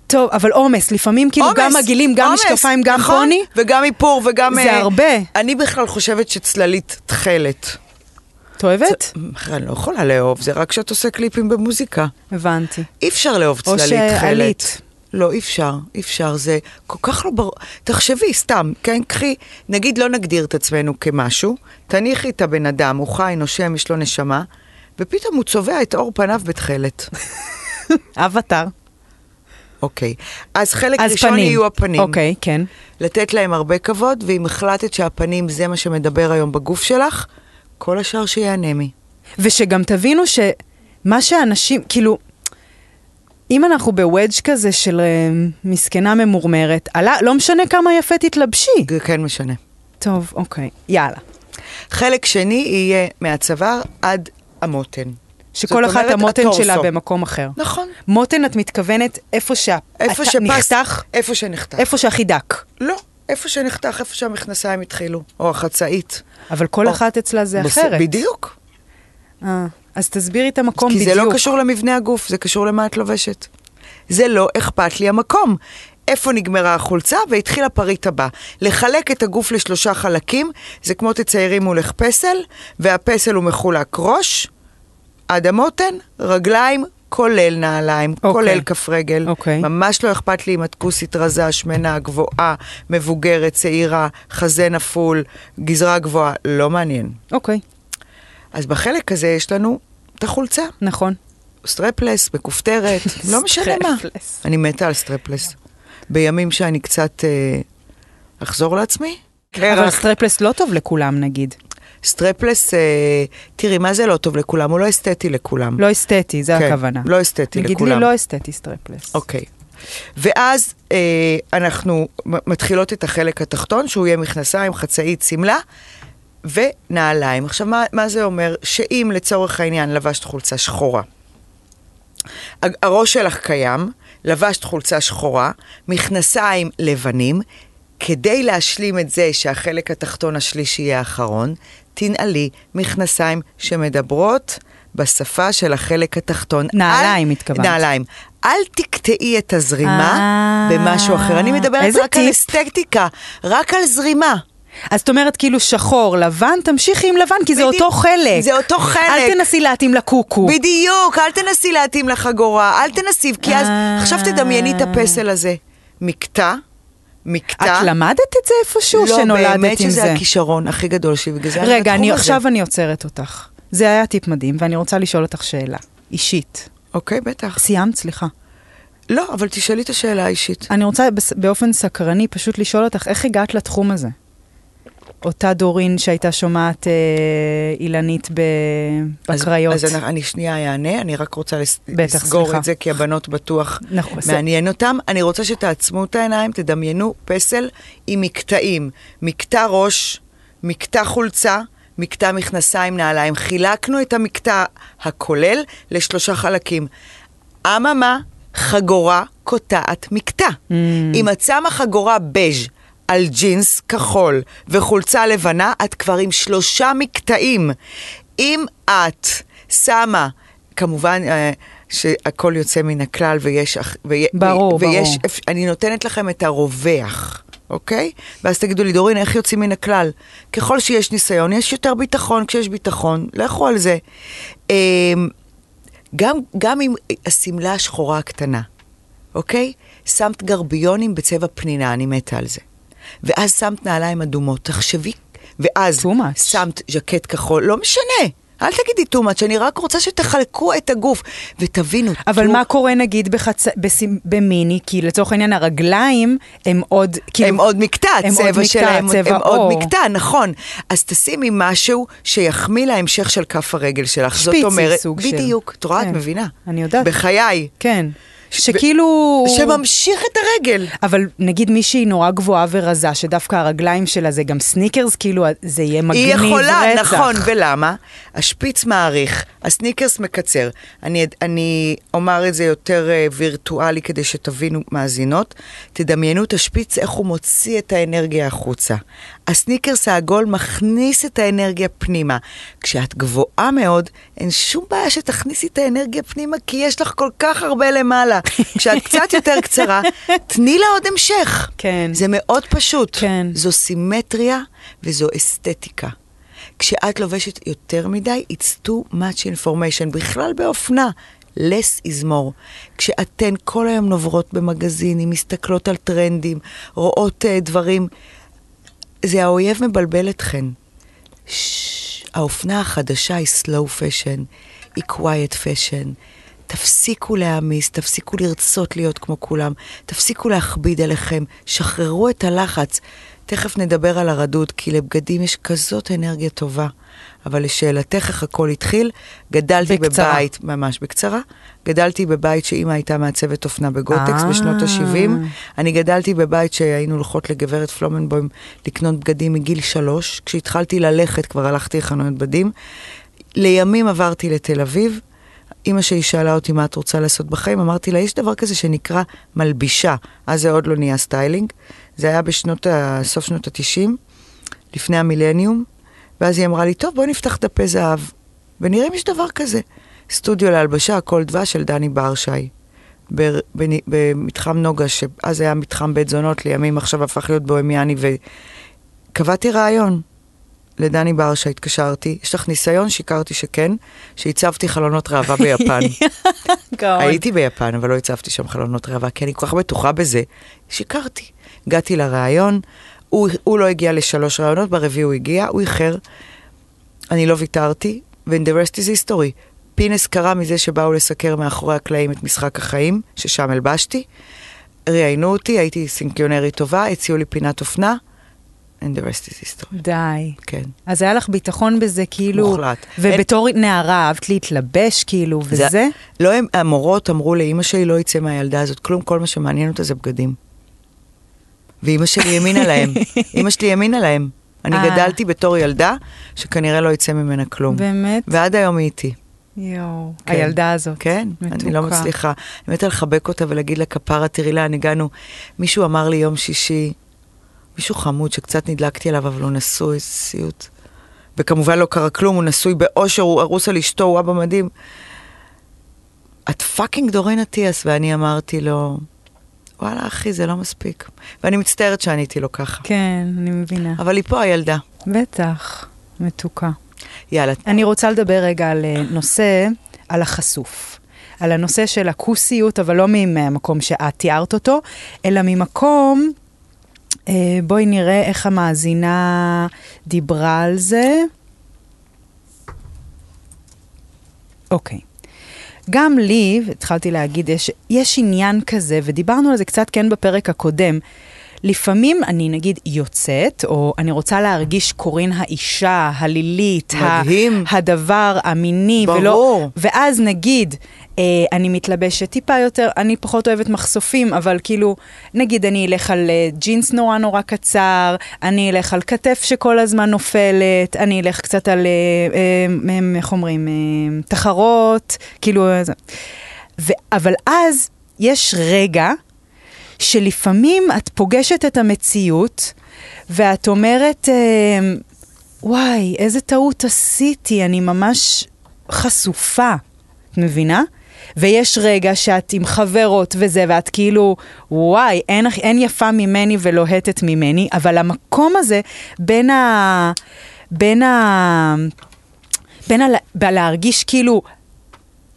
A: טוב, אבל עומס, לפעמים כאילו גם
B: עומס,
A: עגילים, גם
B: עומס,
A: משקפיים, גם
B: נכון,
A: פוני.
B: וגם איפור, וגם...
A: זה
B: אה,
A: הרבה.
B: אני בכלל חושבת שצללית תכלת.
A: את אוהבת?
B: אחי, אני לא יכולה לאהוב, זה רק כשאת עושה קליפים במוזיקה.
A: הבנתי.
B: אי אפשר לאהוב
A: או
B: צללית תכלת.
A: שעלית.
B: לא, אי אפשר, אי אפשר, זה כל כך לא ברור. תחשבי, סתם, כן, קחי, נגיד לא נגדיר את עצמנו כמשהו, תניחי את הבן אדם, הוא חי, נושם, יש לו נשמה, ופתאום הוא צובע את עור פניו בתכלת.
A: אבטאר.
B: אוקיי. אז חלק
A: אז
B: ראשון
A: פנים.
B: יהיו הפנים.
A: אוקיי, כן.
B: לתת להם הרבה כבוד, ואם החלטת שהפנים זה מה שמדבר היום בגוף שלך, כל השאר שיהיה אנמי.
A: ושגם תבינו שמה שאנשים, כאילו, אם אנחנו בוודג' כזה של אה, מסכנה ממורמרת, עלה, לא משנה כמה יפה תתלבשי.
B: זה כן משנה.
A: טוב, אוקיי, יאללה.
B: חלק שני יהיה מהצוואר עד המותן.
A: שכל
B: זאת
A: אחת
B: אומרת,
A: המותן שלה
B: הטורסו.
A: במקום אחר.
B: נכון.
A: מותן, את מתכוונת איפה
B: איפה
A: שהנחתך,
B: שפס-
A: נחתך,
B: איפה שנחתך.
A: איפה שהכי דק.
B: לא, איפה שנחתך, איפה שהמכנסיים התחילו, או החצאית.
A: אבל כל
B: או,
A: אחת אצלה זה
B: בס-
A: אחרת.
B: בדיוק.
A: אה, אז תסבירי את המקום
B: כי
A: בדיוק.
B: זה לא קשור למבנה הגוף, זה קשור למה את לובשת. זה לא אכפת לי המקום. איפה נגמרה החולצה והתחיל הפריט הבא. לחלק את הגוף לשלושה חלקים, זה כמו תציירי מולך פסל, והפסל הוא מחולק ראש, עד המותן, רגליים, כולל נעליים, okay.
A: אוקיי.
B: כולל כף רגל.
A: אוקיי.
B: ממש לא אכפת לי אם את כוסית רזה, שמנה, גבוהה, מבוגרת, צעירה, חזה נפול, גזרה גבוהה, לא מעניין.
A: אוקיי,
B: אז בחלק הזה יש לנו את החולצה.
A: נכון.
B: סטרפלס, מכופתרת, לא משנה מה.
A: סטרפלס.
B: אני מתה על סטרפלס. בימים שאני קצת אה, אחזור לעצמי.
A: אבל
B: קרח.
A: סטרפלס לא טוב לכולם, נגיד.
B: סטרפלס, אה, תראי, מה זה לא טוב לכולם? הוא לא אסתטי לכולם.
A: לא אסתטי, זה
B: כן,
A: הכוונה.
B: לא אסתטי
A: נגיד
B: לכולם.
A: לי לא אסתטי סטרפלס.
B: אוקיי. ואז אה, אנחנו מ- מתחילות את החלק התחתון, שהוא יהיה מכנסיים, חצאית, שמלה ונעליים. עכשיו, מה, מה זה אומר? שאם לצורך העניין לבשת חולצה שחורה, ה- הראש שלך קיים, לבשת חולצה שחורה, מכנסיים לבנים, כדי להשלים את זה שהחלק התחתון השלישי יהיה האחרון, תנעלי מכנסיים שמדברות בשפה של החלק התחתון.
A: נעליים,
B: אל-
A: התכוונת.
B: נעליים. אל תקטעי את הזרימה
A: אה,
B: במשהו אחר. אני מדברת
A: איזה
B: רק על
A: טיפ.
B: אסתטיקה, רק על זרימה.
A: אז את אומרת כאילו שחור, לבן, תמשיכי עם לבן, כי זה
B: בדיוק.
A: אותו חלק.
B: זה אותו חלק.
A: אל תנסי להתאים לקוקו.
B: בדיוק, אל תנסי להתאים לחגורה, אל תנסי, כי אז,
A: אה.
B: עכשיו תדמייני את הפסל הזה. מקטע, מקטע.
A: את למדת את זה איפשהו, שנולדת עם זה?
B: לא, באמת שזה הכישרון הכי גדול שלי, בגלל זה
A: רגע,
B: בתחום
A: אני
B: הזה.
A: עכשיו אני עוצרת אותך. זה היה טיפ מדהים, ואני רוצה לשאול אותך שאלה. אישית.
B: אוקיי, בטח.
A: סיימת? סליחה.
B: לא, אבל תשאלי את השאלה האישית.
A: אני רוצה בס- באופן סקרני פשוט לשאול אותך, איך הגעת לתחום הזה? אותה דורין שהייתה שומעת אה, אילנית ב- בקריות.
B: אז, אז אני, אני שנייה אענה, אני רק רוצה לס...
A: בטח,
B: לסגור
A: סליחה.
B: את זה, כי הבנות בטוח
A: נכון, זה-
B: מעניין אותם. אני רוצה שתעצמו את העיניים, תדמיינו פסל עם מקטעים. מקטע ראש, מקטע חולצה, מקטע מכנסיים, נעליים. חילקנו את המקטע הכולל לשלושה חלקים. אממה, חגורה קוטעת מקטע. Mm. אם את שמה חגורה בז' על ג'ינס כחול וחולצה לבנה, את כבר עם שלושה מקטעים. אם את שמה, כמובן אה, שהכל יוצא מן הכלל ויש... אח- וי-
A: ברור,
B: וי- ויש,
A: ברור.
B: אפ- אני נותנת לכם את הרווח. אוקיי? ואז תגידו לי, דורין, איך יוצאים מן הכלל? ככל שיש ניסיון, יש יותר ביטחון. כשיש ביטחון, לכו על זה. אמ, גם, גם עם השמלה השחורה הקטנה, אוקיי? שמת גרביונים בצבע פנינה, אני מתה על זה. ואז שמת נעליים אדומות, תחשבי, ואז
A: Too much.
B: שמת ז'קט כחול, לא משנה. אל תגידי טומאץ', אני רק רוצה שתחלקו את הגוף ותבינו.
A: אבל
B: טו-
A: מה קורה נגיד בחצ... בס... במיני? כי לצורך העניין הרגליים הם עוד, כאילו...
B: הם עוד מקטע,
A: הם עוד
B: הצבע
A: מקטע,
B: שלהם,
A: צבע
B: הם עוד
A: עור.
B: מקטע, נכון. אז תשימי משהו שיחמיא להמשך של כף הרגל שלך. זאת
A: שפיצי
B: אומרת,
A: סוג של.
B: בדיוק, את רואה, את
A: כן.
B: מבינה.
A: אני יודעת.
B: בחיי.
A: כן.
B: ש-
A: שכאילו...
B: שממשיך את הרגל.
A: אבל נגיד מישהי נורא גבוהה ורזה, שדווקא הרגליים שלה זה גם סניקרס, כאילו זה יהיה מגניב
B: היא
A: רצח.
B: יכולה, נכון, ולמה? השפיץ מעריך, הסניקרס מקצר. אני, אני אומר את זה יותר אה, וירטואלי כדי שתבינו מאזינות. תדמיינו את השפיץ, איך הוא מוציא את האנרגיה החוצה. הסניקרס העגול מכניס את האנרגיה פנימה. כשאת גבוהה מאוד, אין שום בעיה שתכניסי את האנרגיה פנימה, כי יש לך כל כך הרבה למעלה. כשאת קצת יותר קצרה, תני לה עוד המשך.
A: כן.
B: זה מאוד פשוט.
A: כן.
B: זו סימטריה וזו אסתטיקה. כשאת לובשת יותר מדי, it's too much information, בכלל באופנה. less is more. כשאתן כל היום נוברות במגזינים, מסתכלות על טרנדים, רואות uh, דברים, זה האויב מבלבל אתכן. ששש, האופנה החדשה היא slow fashion, היא quiet fashion. תפסיקו להעמיס, תפסיקו לרצות להיות כמו כולם, תפסיקו להכביד עליכם, שחררו את הלחץ. תכף נדבר על הרדוד, כי לבגדים יש כזאת אנרגיה טובה. אבל לשאלתך איך הכל התחיל, גדלתי
A: בקצרה.
B: בבית, ממש בקצרה, גדלתי בבית שאימא הייתה מעצבת אופנה בגוטקס
A: אה.
B: בשנות ה-70. אני גדלתי בבית שהיינו הולכות לגברת פלומנבוים לקנות בגדים מגיל שלוש. כשהתחלתי ללכת כבר הלכתי לחנויות בדים. לימים עברתי לתל אביב. אימא שלי שאלה אותי מה את רוצה לעשות בחיים, אמרתי לה, יש דבר כזה שנקרא מלבישה. אז זה עוד לא נהיה סטיילינג. זה היה בשנות ה... סוף שנות ה-90, לפני המילניום. ואז היא אמרה לי, טוב, בואי נפתח דפי זהב, ונראה אם יש דבר כזה. סטודיו להלבשה, הכל דבש של דני ברשי. בר- בנ- במתחם נוגה, שאז היה מתחם בית זונות, לימים עכשיו הפך להיות בוהמיאני, וקבעתי רעיון לדני ברשה, התקשרתי, יש לך ניסיון? שיקרתי שכן, שהצבתי חלונות ראווה ביפן.
A: גאון.
B: הייתי ביפן, אבל לא הצבתי שם חלונות ראווה, כי אני כל כך בטוחה בזה. שיקרתי. הגעתי לראיון, הוא, הוא לא הגיע לשלוש ראיונות, ברביעי הוא הגיע, הוא איחר. אני לא ויתרתי, ו-the rest is history. פינס קרה מזה שבאו לסקר מאחורי הקלעים את משחק החיים, ששם הלבשתי. ראיינו אותי, הייתי סינקיונרית טובה, הציעו לי פינת אופנה, and the rest is history.
A: די.
B: כן.
A: אז היה לך ביטחון בזה, כאילו...
B: מוחלט.
A: ובתור נערה אהבת להתלבש, כאילו, וזה?
B: לא, הם, המורות אמרו לאימא שלי, לא יצא מהילדה הזאת כלום, כל מה שמעניין אותה זה בגדים. ואימא שלי האמינה להם. אימא שלי האמינה להם. אני
A: אה.
B: גדלתי בתור ילדה שכנראה לא יצא ממנה כלום.
A: באמת?
B: ועד היום היא איתי.
A: יואו.
B: כן.
A: הילדה הזאת.
B: כן, אני לא
A: מתוקה.
B: מצליחה. אני מתה לחבק אותה ולהגיד לה, כפרה, תראי לאן הגענו. מישהו אמר לי יום שישי, מישהו חמוד שקצת נדלקתי עליו, אבל הוא נשוי, איזה סיוט. וכמובן לא קרה כלום, הוא נשוי באושר, הוא הרוס על אשתו, הוא אבא מדהים. את פאקינג דורין אטיאס, ואני אמרתי לו, וואלה אחי, זה לא מספיק. ואני מצטערת שעניתי לו ככה.
A: כן, אני מבינה.
B: אבל היא פה הילדה.
A: בטח. מתוקה.
B: יאללה,
A: אני רוצה לדבר רגע על אה, נושא, על החשוף. על הנושא של הכוסיות, אבל לא ממקום שאת תיארת אותו, אלא ממקום, אה, בואי נראה איך המאזינה דיברה על זה. אוקיי. גם לי, התחלתי להגיד, יש, יש עניין כזה, ודיברנו על זה קצת כן בפרק הקודם. לפעמים אני נגיד יוצאת, או אני רוצה להרגיש קורין האישה, הלילית, ה-
B: מדהים.
A: הדבר המיני, ולא...
B: ברור.
A: ואז נגיד, אה, אני מתלבשת טיפה יותר, אני פחות אוהבת מחשופים, אבל כאילו, נגיד אני אלך על אה, ג'ינס נורא נורא קצר, אני אלך על כתף שכל הזמן נופלת, אני אלך קצת על, אה, אה, אה, איך אומרים, אה, תחרות, כאילו... אה, זה. ו- אבל אז יש רגע שלפעמים את פוגשת את המציאות, ואת אומרת, אה, וואי, איזה טעות עשיתי, אני ממש חשופה, את מבינה? ויש רגע שאת עם חברות וזה, ואת כאילו, וואי, אין, אין יפה ממני ולוהטת ממני, אבל המקום הזה בין ה... בין ה... בין ה... בלהרגיש כאילו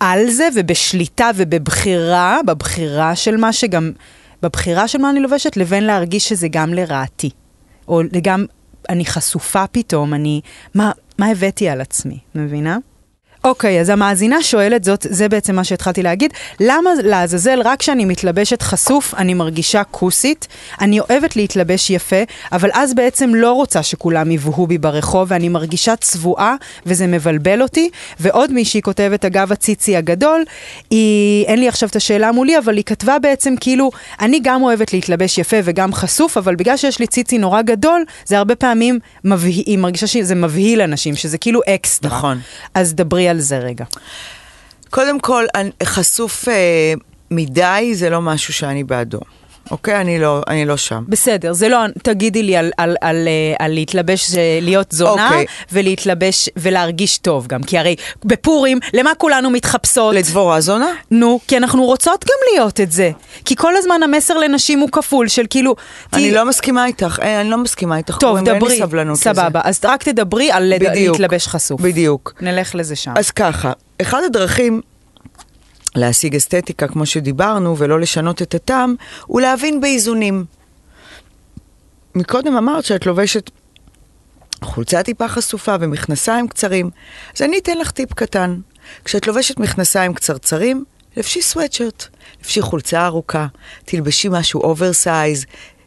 A: על זה ובשליטה ובבחירה, בבחירה של מה שגם, בבחירה של מה אני לובשת, לבין להרגיש שזה גם לרעתי. או גם, אני חשופה פתאום, אני, מה, מה הבאתי על עצמי, מבינה? אוקיי, אז המאזינה שואלת זאת, זה בעצם מה שהתחלתי להגיד, למה לעזאזל רק כשאני מתלבשת חשוף אני מרגישה כוסית? אני אוהבת להתלבש יפה, אבל אז בעצם לא רוצה שכולם יבהו בי ברחוב ואני מרגישה צבועה וזה מבלבל אותי. ועוד מישהי כותבת, אגב הציצי הגדול, היא, אין לי עכשיו את השאלה מולי, אבל היא כתבה בעצם כאילו, אני גם אוהבת להתלבש יפה וגם חשוף, אבל בגלל שיש לי ציצי נורא גדול, זה הרבה פעמים מבהיל, היא מרגישה שזה מבהיל אנשים, שזה כאילו אקסטרה.
B: נכון.
A: אז דברי על זה רגע.
B: קודם כל, אני- חשוף אה, מדי זה לא משהו שאני בעדו. אוקיי? אני לא, אני לא שם.
A: בסדר, זה לא, תגידי לי על, על, על, אה, על להתלבש, אה, להיות זונה,
B: אוקיי.
A: ולהתלבש ולהרגיש טוב גם, כי הרי בפורים, למה כולנו מתחפשות?
B: לדבורה זונה?
A: נו, כי אנחנו רוצות גם להיות את זה. כי כל הזמן המסר לנשים הוא כפול, של כאילו...
B: אני
A: ת-
B: לא מסכימה איתך, אה, אני לא מסכימה איתך.
A: טוב,
B: קוראים, אין
A: דברי,
B: לי סבלנות לזה.
A: סבבה. אז רק תדברי על לד-
B: בדיוק.
A: להתלבש חשוף.
B: בדיוק.
A: נלך לזה שם.
B: אז ככה, אחד הדרכים להשיג אסתטיקה, כמו שדיברנו, ולא לשנות את הטעם, הוא להבין באיזונים. מקודם אמרת שאת לובשת חולצה טיפה חשופה ומכנסיים קצרים, אז אני אתן לך טיפ קטן. כשאת לובשת מכנסיים קצרצרים, לבשי סוואטשרט, לבשי חולצה ארוכה, תלבשי משהו אוברסייז,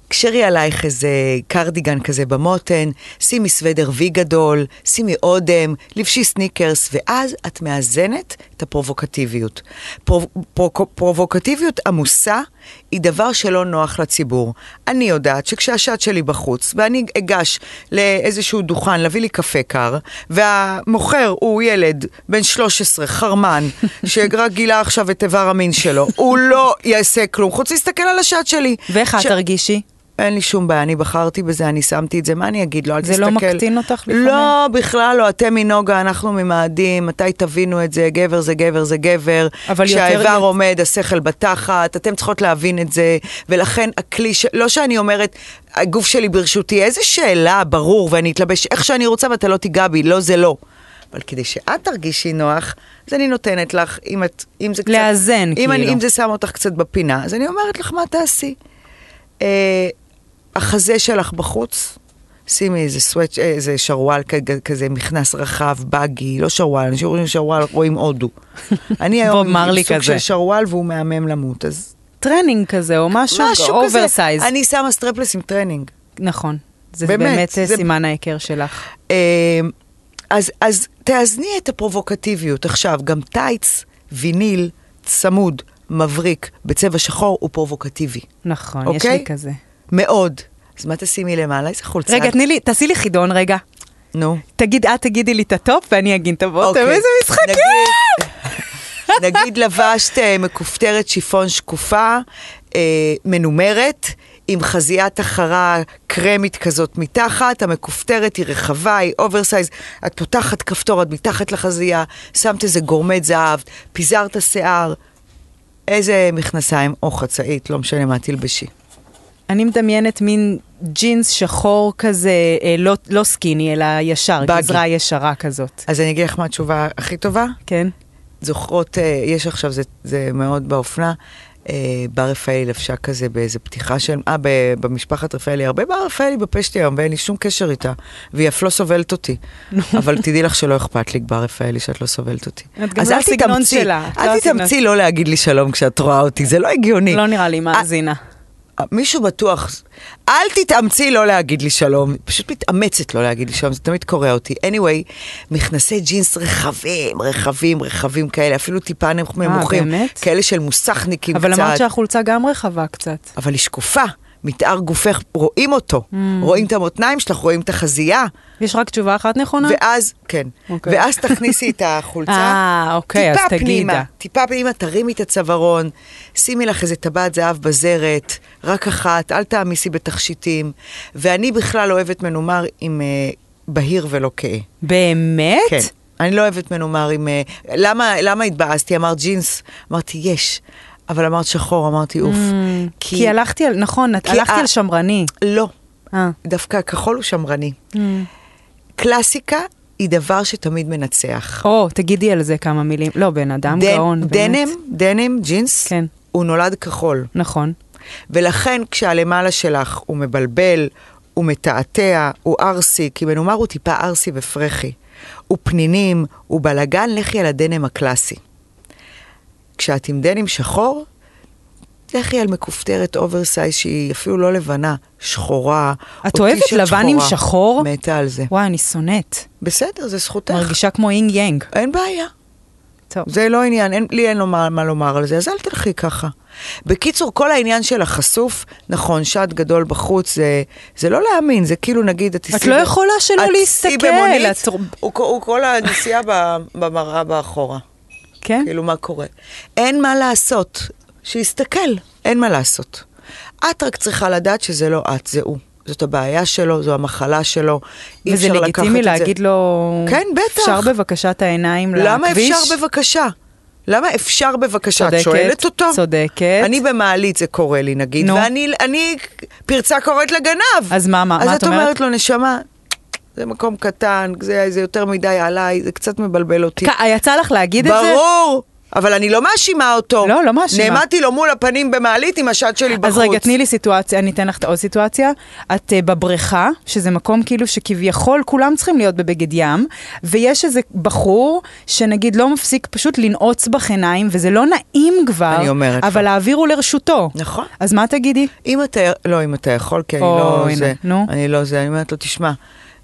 B: קשרי עלייך איזה קרדיגן כזה במותן, שימי סוודר וי גדול, שימי אודם, לבשי סניקרס, ואז את מאזנת את הפרובוקטיביות. פרו, פרו, פרובוקטיביות עמוסה היא דבר שלא נוח לציבור. אני יודעת שכשהשעת שלי בחוץ, ואני אגש לאיזשהו דוכן להביא לי קפה קר, והמוכר הוא ילד בן 13, חרמן, שרק גילה עכשיו את איבר המין שלו, הוא לא יעשה כלום, חוץ להסתכל על השעת שלי.
A: ואיך את
B: ש-
A: תרגישי?
B: אין לי שום בעיה, אני בחרתי בזה, אני שמתי את זה, מה אני אגיד לו? אל
A: זה
B: תסתכל.
A: לא מקטין אותך לפעמים?
B: לא, בכלל לא, אתם מנוגה, אנחנו ממאדים, מתי תבינו את זה? גבר זה גבר זה גבר.
A: אבל יותר-
B: כשהאיבר עומד, השכל בתחת, אתם צריכות להבין את זה, ולכן הכלי, ש... לא שאני אומרת, הגוף שלי ברשותי, איזה שאלה, ברור, ואני אתלבש איך שאני רוצה ואתה לא תיגע בי, לא זה לא. אבל כדי שאת תרגישי נוח, אז אני נותנת לך, אם, את, אם זה קצת...
A: לאזן,
B: אם אני,
A: כאילו.
B: אם זה שם אותך קצת בפינה, אז אני אומרת לך, מה תעשי? אה, החזה שלך בחוץ, שימי איזה סוואץ', אה, איזה שרוואל כ- כזה, מכנס רחב, באגי, לא שרוואל, אנשים רואים שרוואל, רואים הודו. אני
A: בוב
B: היום עם
A: מרלי
B: סוג
A: כזה.
B: של שרוואל והוא מהמם למות, אז
A: טרנינג כזה, או משהו,
B: משהו כזה.
A: אוברסייז.
B: אני שמה סטרפלס עם טרנינג.
A: נכון. זה
B: באמת,
A: באמת אה,
B: זה-
A: סימן ההיכר שלך.
B: אה, אז, אז תאזני את הפרובוקטיביות. עכשיו, גם טייץ, ויניל, צמוד, מבריק, בצבע שחור, הוא פרובוקטיבי.
A: נכון, יש
B: אוקיי?
A: לי כזה.
B: מאוד. אז מה תשימי למעלה? איזה חולצה?
A: רגע,
B: את-
A: תני לי, תעשי לי חידון רגע.
B: נו.
A: תגיד, את תגידי לי את הטופ ואני אגיד את הבוטם,
B: אוקיי.
A: איזה משחק
B: נגיד- נגיד לבשת אה, מכופתרת שיפון שקופה, אה, מנומרת, עם חזיית החרה קרמית כזאת מתחת, המכופתרת היא רחבה, היא אוברסייז, את פותחת כפתור, את מתחת לחזייה, שמת איזה גורמט זהב, פיזרת שיער, איזה מכנסיים או חצאית, לא משנה מה תלבשי.
A: אני מדמיינת מין ג'ינס שחור כזה, אה, לא, לא סקיני, אלא ישר,
B: באגי.
A: גזרה ישרה כזאת.
B: אז אני אגיד לך מה התשובה הכי טובה?
A: כן?
B: זוכרות, אה, יש עכשיו, זה, זה מאוד באופנה, אה, בר רפאלי לבשה כזה באיזה פתיחה של, אה, ב- במשפחת רפאלי, הרבה בר רפאלי בפשט היום, ואין לי שום קשר איתה, והיא אף לא סובלת אותי. אבל תדעי לך שלא אכפת לי, בר רפאלי, שאת לא סובלת אותי.
A: את גם
B: אז
A: לא
B: אל
A: הסגנון
B: תתאמצי,
A: שלה, את לא
B: אל
A: הסגנון.
B: תתאמצי לא להגיד לי שלום כשאת רואה אותי, זה לא הגיוני.
A: לא נראה לי מאזינה.
B: אה, מישהו בטוח, אל תתאמצי לא להגיד לי שלום, היא פשוט מתאמצת לא להגיד לי שלום, זה תמיד קורע אותי. anyway, מכנסי ג'ינס רחבים, רחבים, רחבים כאלה, אפילו טיפה נמוך- נמוכים,
A: אה, באמת?
B: כאלה של מוסכניקים
A: אבל
B: קצת.
A: אמרת שהחולצה גם רחבה קצת.
B: אבל היא שקופה, מתאר גופך, רואים אותו,
A: Mm.
B: רואים את המותניים שלך, רואים את החזייה,
A: יש רק תשובה אחת נכונה?
B: ואז, כן,
A: אוקיי.
B: ואז תכניסי את החולצה.
A: אה, אוקיי, אז
B: טיפה
A: תגידה.
B: פנימה, טיפה פנימה, תרימי את הצווארון, שימי לך איזה טבעת זהב בזרת, רק אחת, אל תעמיסי בתכשיטים. ואני בכלל אוהבת מנומר עם אה, בהיר ולא כהה.
A: באמת?
B: כן. אני לא אוהבת מנומר עם... אה, למה, למה התבאסתי? אמרת ג'ינס. אמרתי, יש. אבל אמרת שחור, אמרתי, אוף.
A: Mm, כי הלכתי על, נכון, את-
B: כי
A: הלכתי
B: ה-
A: על שמרני.
B: לא,
A: אה.
B: דווקא הכחול הוא שמרני. קלאסיקה היא דבר שתמיד מנצח.
A: או, תגידי על זה כמה מילים. לא, בן אדם
B: דנ-
A: גאון, באמת.
B: דנם, דנם, ג'ינס,
A: כן.
B: הוא נולד כחול.
A: נכון.
B: ולכן כשהלמעלה שלך הוא מבלבל, הוא מתעתע, הוא ערסי, כי מנומר הוא טיפה ערסי ופרחי. הוא פנינים, הוא בלגן, לכי על הדנם הקלאסי. כשאת עם דנים שחור, לכי על מכופתרת אוברסייז שהיא אפילו לא לבנה, שחורה.
A: את
B: או
A: אוהבת
B: טישרט
A: לבן עם
B: שחורה.
A: שחור?
B: מתה על זה.
A: וואי, אני שונאת.
B: בסדר, זה זכותך.
A: מרגישה כמו אינג יאנג.
B: אין בעיה.
A: טוב.
B: זה לא עניין, אין, לי אין לו מה, מה לומר על זה, אז אל תלכי ככה. בקיצור, כל העניין של החשוף, נכון, שד גדול בחוץ, זה, זה לא להאמין, זה כאילו נגיד, את
A: את לא יכולה שלא
B: את
A: להסתכל.
B: תיסעי במונית,
A: את-
B: הוא, כל- הוא כל הנסיעה ב- במראה באחורה,
A: כן?
B: כאילו מה קורה. אין מה לעשות, שיסתכל, אין מה לעשות. את רק צריכה לדעת שזה לא את, זה הוא. זאת הבעיה שלו, זו המחלה שלו, אי
A: וזה
B: אפשר לקחת את זה.
A: לגיטימי להגיד לו...
B: כן, בטח.
A: אפשר בבקשה את העיניים לכביש?
B: למה אפשר בבקשה? למה אפשר בבקשה? את
A: צודקת,
B: שואלת אותו?
A: צודקת.
B: אני במעלית זה קורה לי נגיד,
A: נו.
B: ואני אני, פרצה קוראת לגנב.
A: אז מה, מה-
B: אז
A: מה
B: אז
A: את
B: את
A: אומרת?
B: אומרת לו, נשמה, זה מקום קטן, זה, זה יותר מדי עליי, זה קצת מבלבל אותי.
A: כ- יצא לך להגיד את זה?
B: ברור. אבל אני לא מאשימה אותו.
A: לא, לא מאשימה.
B: נעמדתי לו מול הפנים במעלית עם השד שלי בחוץ.
A: אז רגע, תני לי סיטואציה, אני אתן לך עוד סיטואציה. את uh, בבריכה, שזה מקום כאילו שכביכול כולם צריכים להיות בבגד ים, ויש איזה בחור שנגיד לא מפסיק פשוט לנעוץ בך עיניים, וזה לא נעים כבר,
B: אני אומרת לך.
A: אבל האוויר הוא לרשותו.
B: נכון.
A: אז מה תגידי?
B: אם אתה, לא, אם אתה יכול, כי אני
A: או,
B: לא
A: הנה,
B: זה,
A: נו.
B: אני לא זה, אני אומרת לו, תשמע,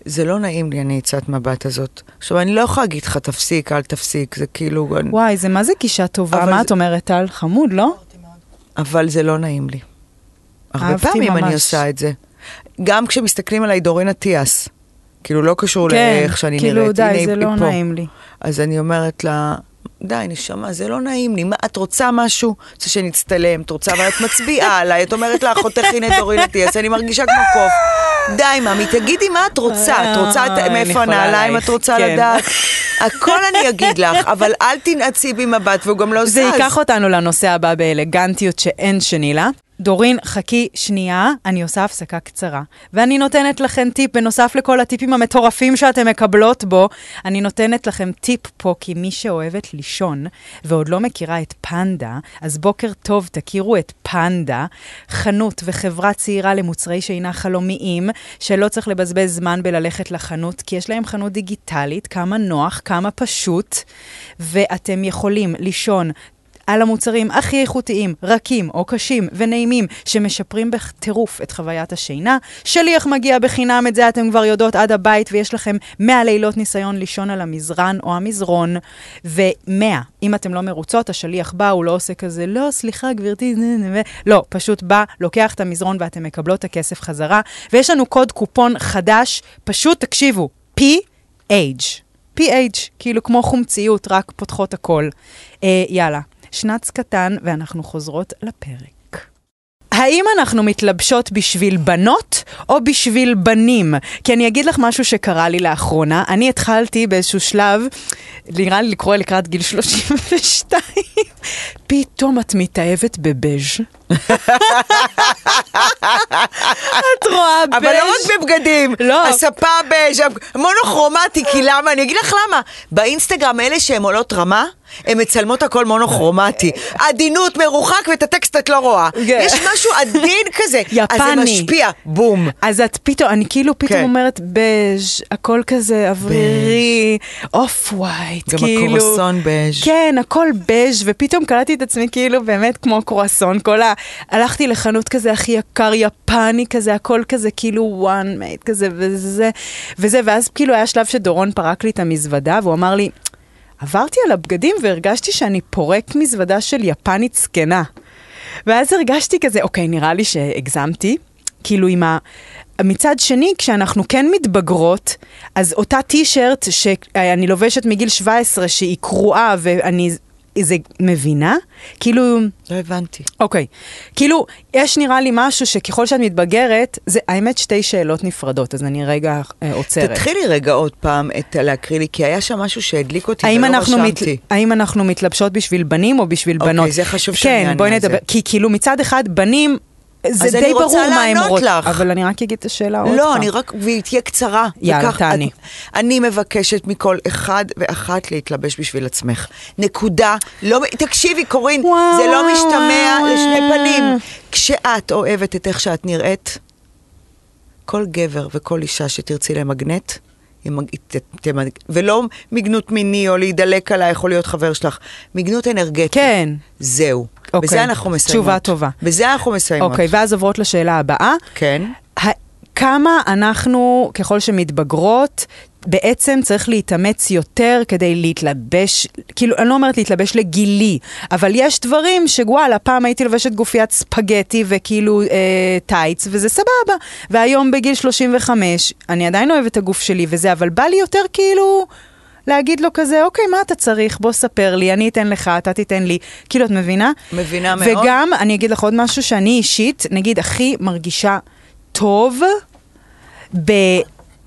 B: זה לא נעים לי הנעיצת מבט הזאת. עכשיו, אני לא יכולה להגיד לך, תפסיק, אל תפסיק, זה כאילו, אני-
A: וואי, זה מה זה גישה טובה?
B: אבל
A: מה
B: זה-
A: את אומרת, טל? חמוד, לא?
B: אבל זה לא נעים לי. הרבה
A: אהבתי
B: פעמים
A: ממש.
B: אני עושה את זה. גם כשמסתכלים עליי דורין אטיאס, כאילו, לא קשור לאיך שאני
A: כאילו
B: נראית, הנה
A: די,
B: היא
A: זה
B: היא
A: לא
B: פה.
A: נעים לי.
B: אז אני אומרת לה, די, נשמה, זה לא נעים לי. מה, את רוצה משהו? רוצה שנצטלם, את רוצה, אבל את מצביעה עליי. את אומרת לה, אחותך, הנה דורין אטיאס, אני מרגישה כמו קוף. די, ממי, תגידי מה את רוצה. את רוצה, את-
A: אה, אני
B: מאיפה
A: חולה
B: הנעליים
A: עלייך,
B: את רוצה
A: כן.
B: לדעת? הכל אני אגיד לך, אבל אל תנעצי בי מבט, והוא גם לא זז.
A: זה ייקח אותנו לנושא הבא באלגנטיות שאין שני לה. דורין, חכי שנייה, אני עושה הפסקה קצרה. ואני נותנת לכם טיפ, בנוסף לכל הטיפים המטורפים שאתן מקבלות בו, אני נותנת לכם טיפ פה, כי מי שאוהבת לישון ועוד לא מכירה את פנדה, אז בוקר טוב, תכירו את פנדה, חנות וחברה צעירה למוצרי שינה חלומיים, שלא צריך לבזבז זמן בללכת לחנות, כי יש להם חנות דיגיטלית, כמה נוח, כמה פשוט, ואתם יכולים לישון. על המוצרים הכי איכותיים, רכים או קשים ונעימים, שמשפרים בטירוף את חוויית השינה. שליח מגיע בחינם, את זה אתם כבר יודעות עד הבית, ויש לכם 100 לילות ניסיון לישון על המזרן או המזרון, ו-100. אם אתם לא מרוצות, השליח בא, הוא לא עושה כזה, לא, סליחה, גברתי, נה, נה, נה." לא, פשוט בא, לוקח את המזרון ואתם מקבלות את הכסף חזרה. ויש לנו קוד קופון חדש, פשוט תקשיבו, PH. PH, כאילו כמו חומציות, רק פותחות הכל. אה, יאללה, שנץ קטן, ואנחנו חוזרות לפרק. האם אנחנו מתלבשות בשביל בנות או בשביל בנים? כי אני אגיד לך משהו שקרה לי לאחרונה. אני התחלתי באיזשהו שלב, נראה לי לקרוא לקראת גיל 32, פתאום את מתאהבת בבז'. את רואה בז'.
B: אבל לא רק בבגדים,
A: לא.
B: הספה בז', מונוכרומטי, כי למה? אני אגיד לך למה. באינסטגרם אלה שהן עולות רמה, הן מצלמות הכל מונוכרומטי. עדינות, מרוחק, ואת הטקסט את לא רואה.
A: כן.
B: יש משהו עדין כזה. אז זה
A: יפני.
B: משפיע, בום.
A: אז את פתאום, אני כאילו פתאום
B: כן.
A: אומרת בז', הכל כזה אוורירי, אוף ווייט,
B: גם
A: כאילו.
B: הקרואסון בז'.
A: כן, הכל בז', ופתאום קלטתי את עצמי כאילו באמת כמו קרואסון, כל ה... הלכתי לחנות כזה הכי יקר, יפני כזה, הכל כזה כאילו one made כזה וזה, וזה, ואז כאילו היה שלב שדורון פרק לי את המזוודה, והוא אמר לי, עברתי על הבגדים והרגשתי שאני פורק מזוודה של יפנית זקנה. ואז הרגשתי כזה, אוקיי, נראה לי שהגזמתי. כאילו עם ה... מצד שני, כשאנחנו כן מתבגרות, אז אותה טישרט שאני לובשת מגיל 17, שהיא קרועה ואני... זה מבינה? כאילו,
B: לא הבנתי.
A: אוקיי. כאילו, יש נראה לי משהו שככל שאת מתבגרת, זה האמת שתי שאלות נפרדות, אז אני רגע אה, עוצרת.
B: תתחילי רגע עוד פעם את להקריא לי, כי היה שם משהו שהדליק אותי
A: האם
B: ולא
A: אנחנו, מת,
B: לא רשמתי.
A: האם אנחנו מתלבשות בשביל בנים או בשביל
B: אוקיי,
A: בנות?
B: זה חשוב שאני
A: כן,
B: אענה
A: בואי
B: על
A: נדבר.
B: זה.
A: כי כאילו מצד אחד, בנים, זה
B: אז
A: די
B: אני רוצה
A: ברור מה הם
B: לענות
A: רוצים.
B: לך.
A: אבל אני רק אגיד את השאלה עוד
B: לא,
A: פעם.
B: אני רק, והיא תהיה קצרה.
A: יאללה,
B: וכך-
A: תעני.
B: את- אני מבקשת מכל אחד ואחת להתלבש בשביל עצמך. נקודה. לא, מ- תקשיבי, קורין,
A: וואו,
B: זה לא משתמע
A: וואו,
B: לשני
A: וואו.
B: פנים. כשאת אוהבת את איך שאת נראית, כל גבר וכל אישה שתרצי למגנט, ימג- ת- תמג- ולא מגנות מיני או להידלק עלייך יכול להיות חבר שלך, מגנות אנרגטית.
A: כן.
B: זהו.
A: אוקיי.
B: בזה אנחנו מסיימות.
A: תשובה טובה.
B: בזה אנחנו מסיימות.
A: אוקיי, ואז עוברות לשאלה הבאה.
B: כן.
A: ה- כמה אנחנו, ככל שמתבגרות, בעצם צריך להתאמץ יותר כדי להתלבש, כאילו, אני לא אומרת להתלבש לגילי, אבל יש דברים שוואלה, פעם הייתי לובשת גופיית ספגטי וכאילו אה, טייץ, וזה סבבה. והיום בגיל 35, אני עדיין אוהבת את הגוף שלי וזה, אבל בא לי יותר כאילו... להגיד לו כזה, אוקיי, מה אתה צריך? בוא ספר לי, אני אתן לך, אתה תיתן לי. כאילו, את מבינה?
B: מבינה מאוד.
A: וגם, אני אגיד לך עוד משהו שאני אישית, נגיד, הכי מרגישה טוב ב...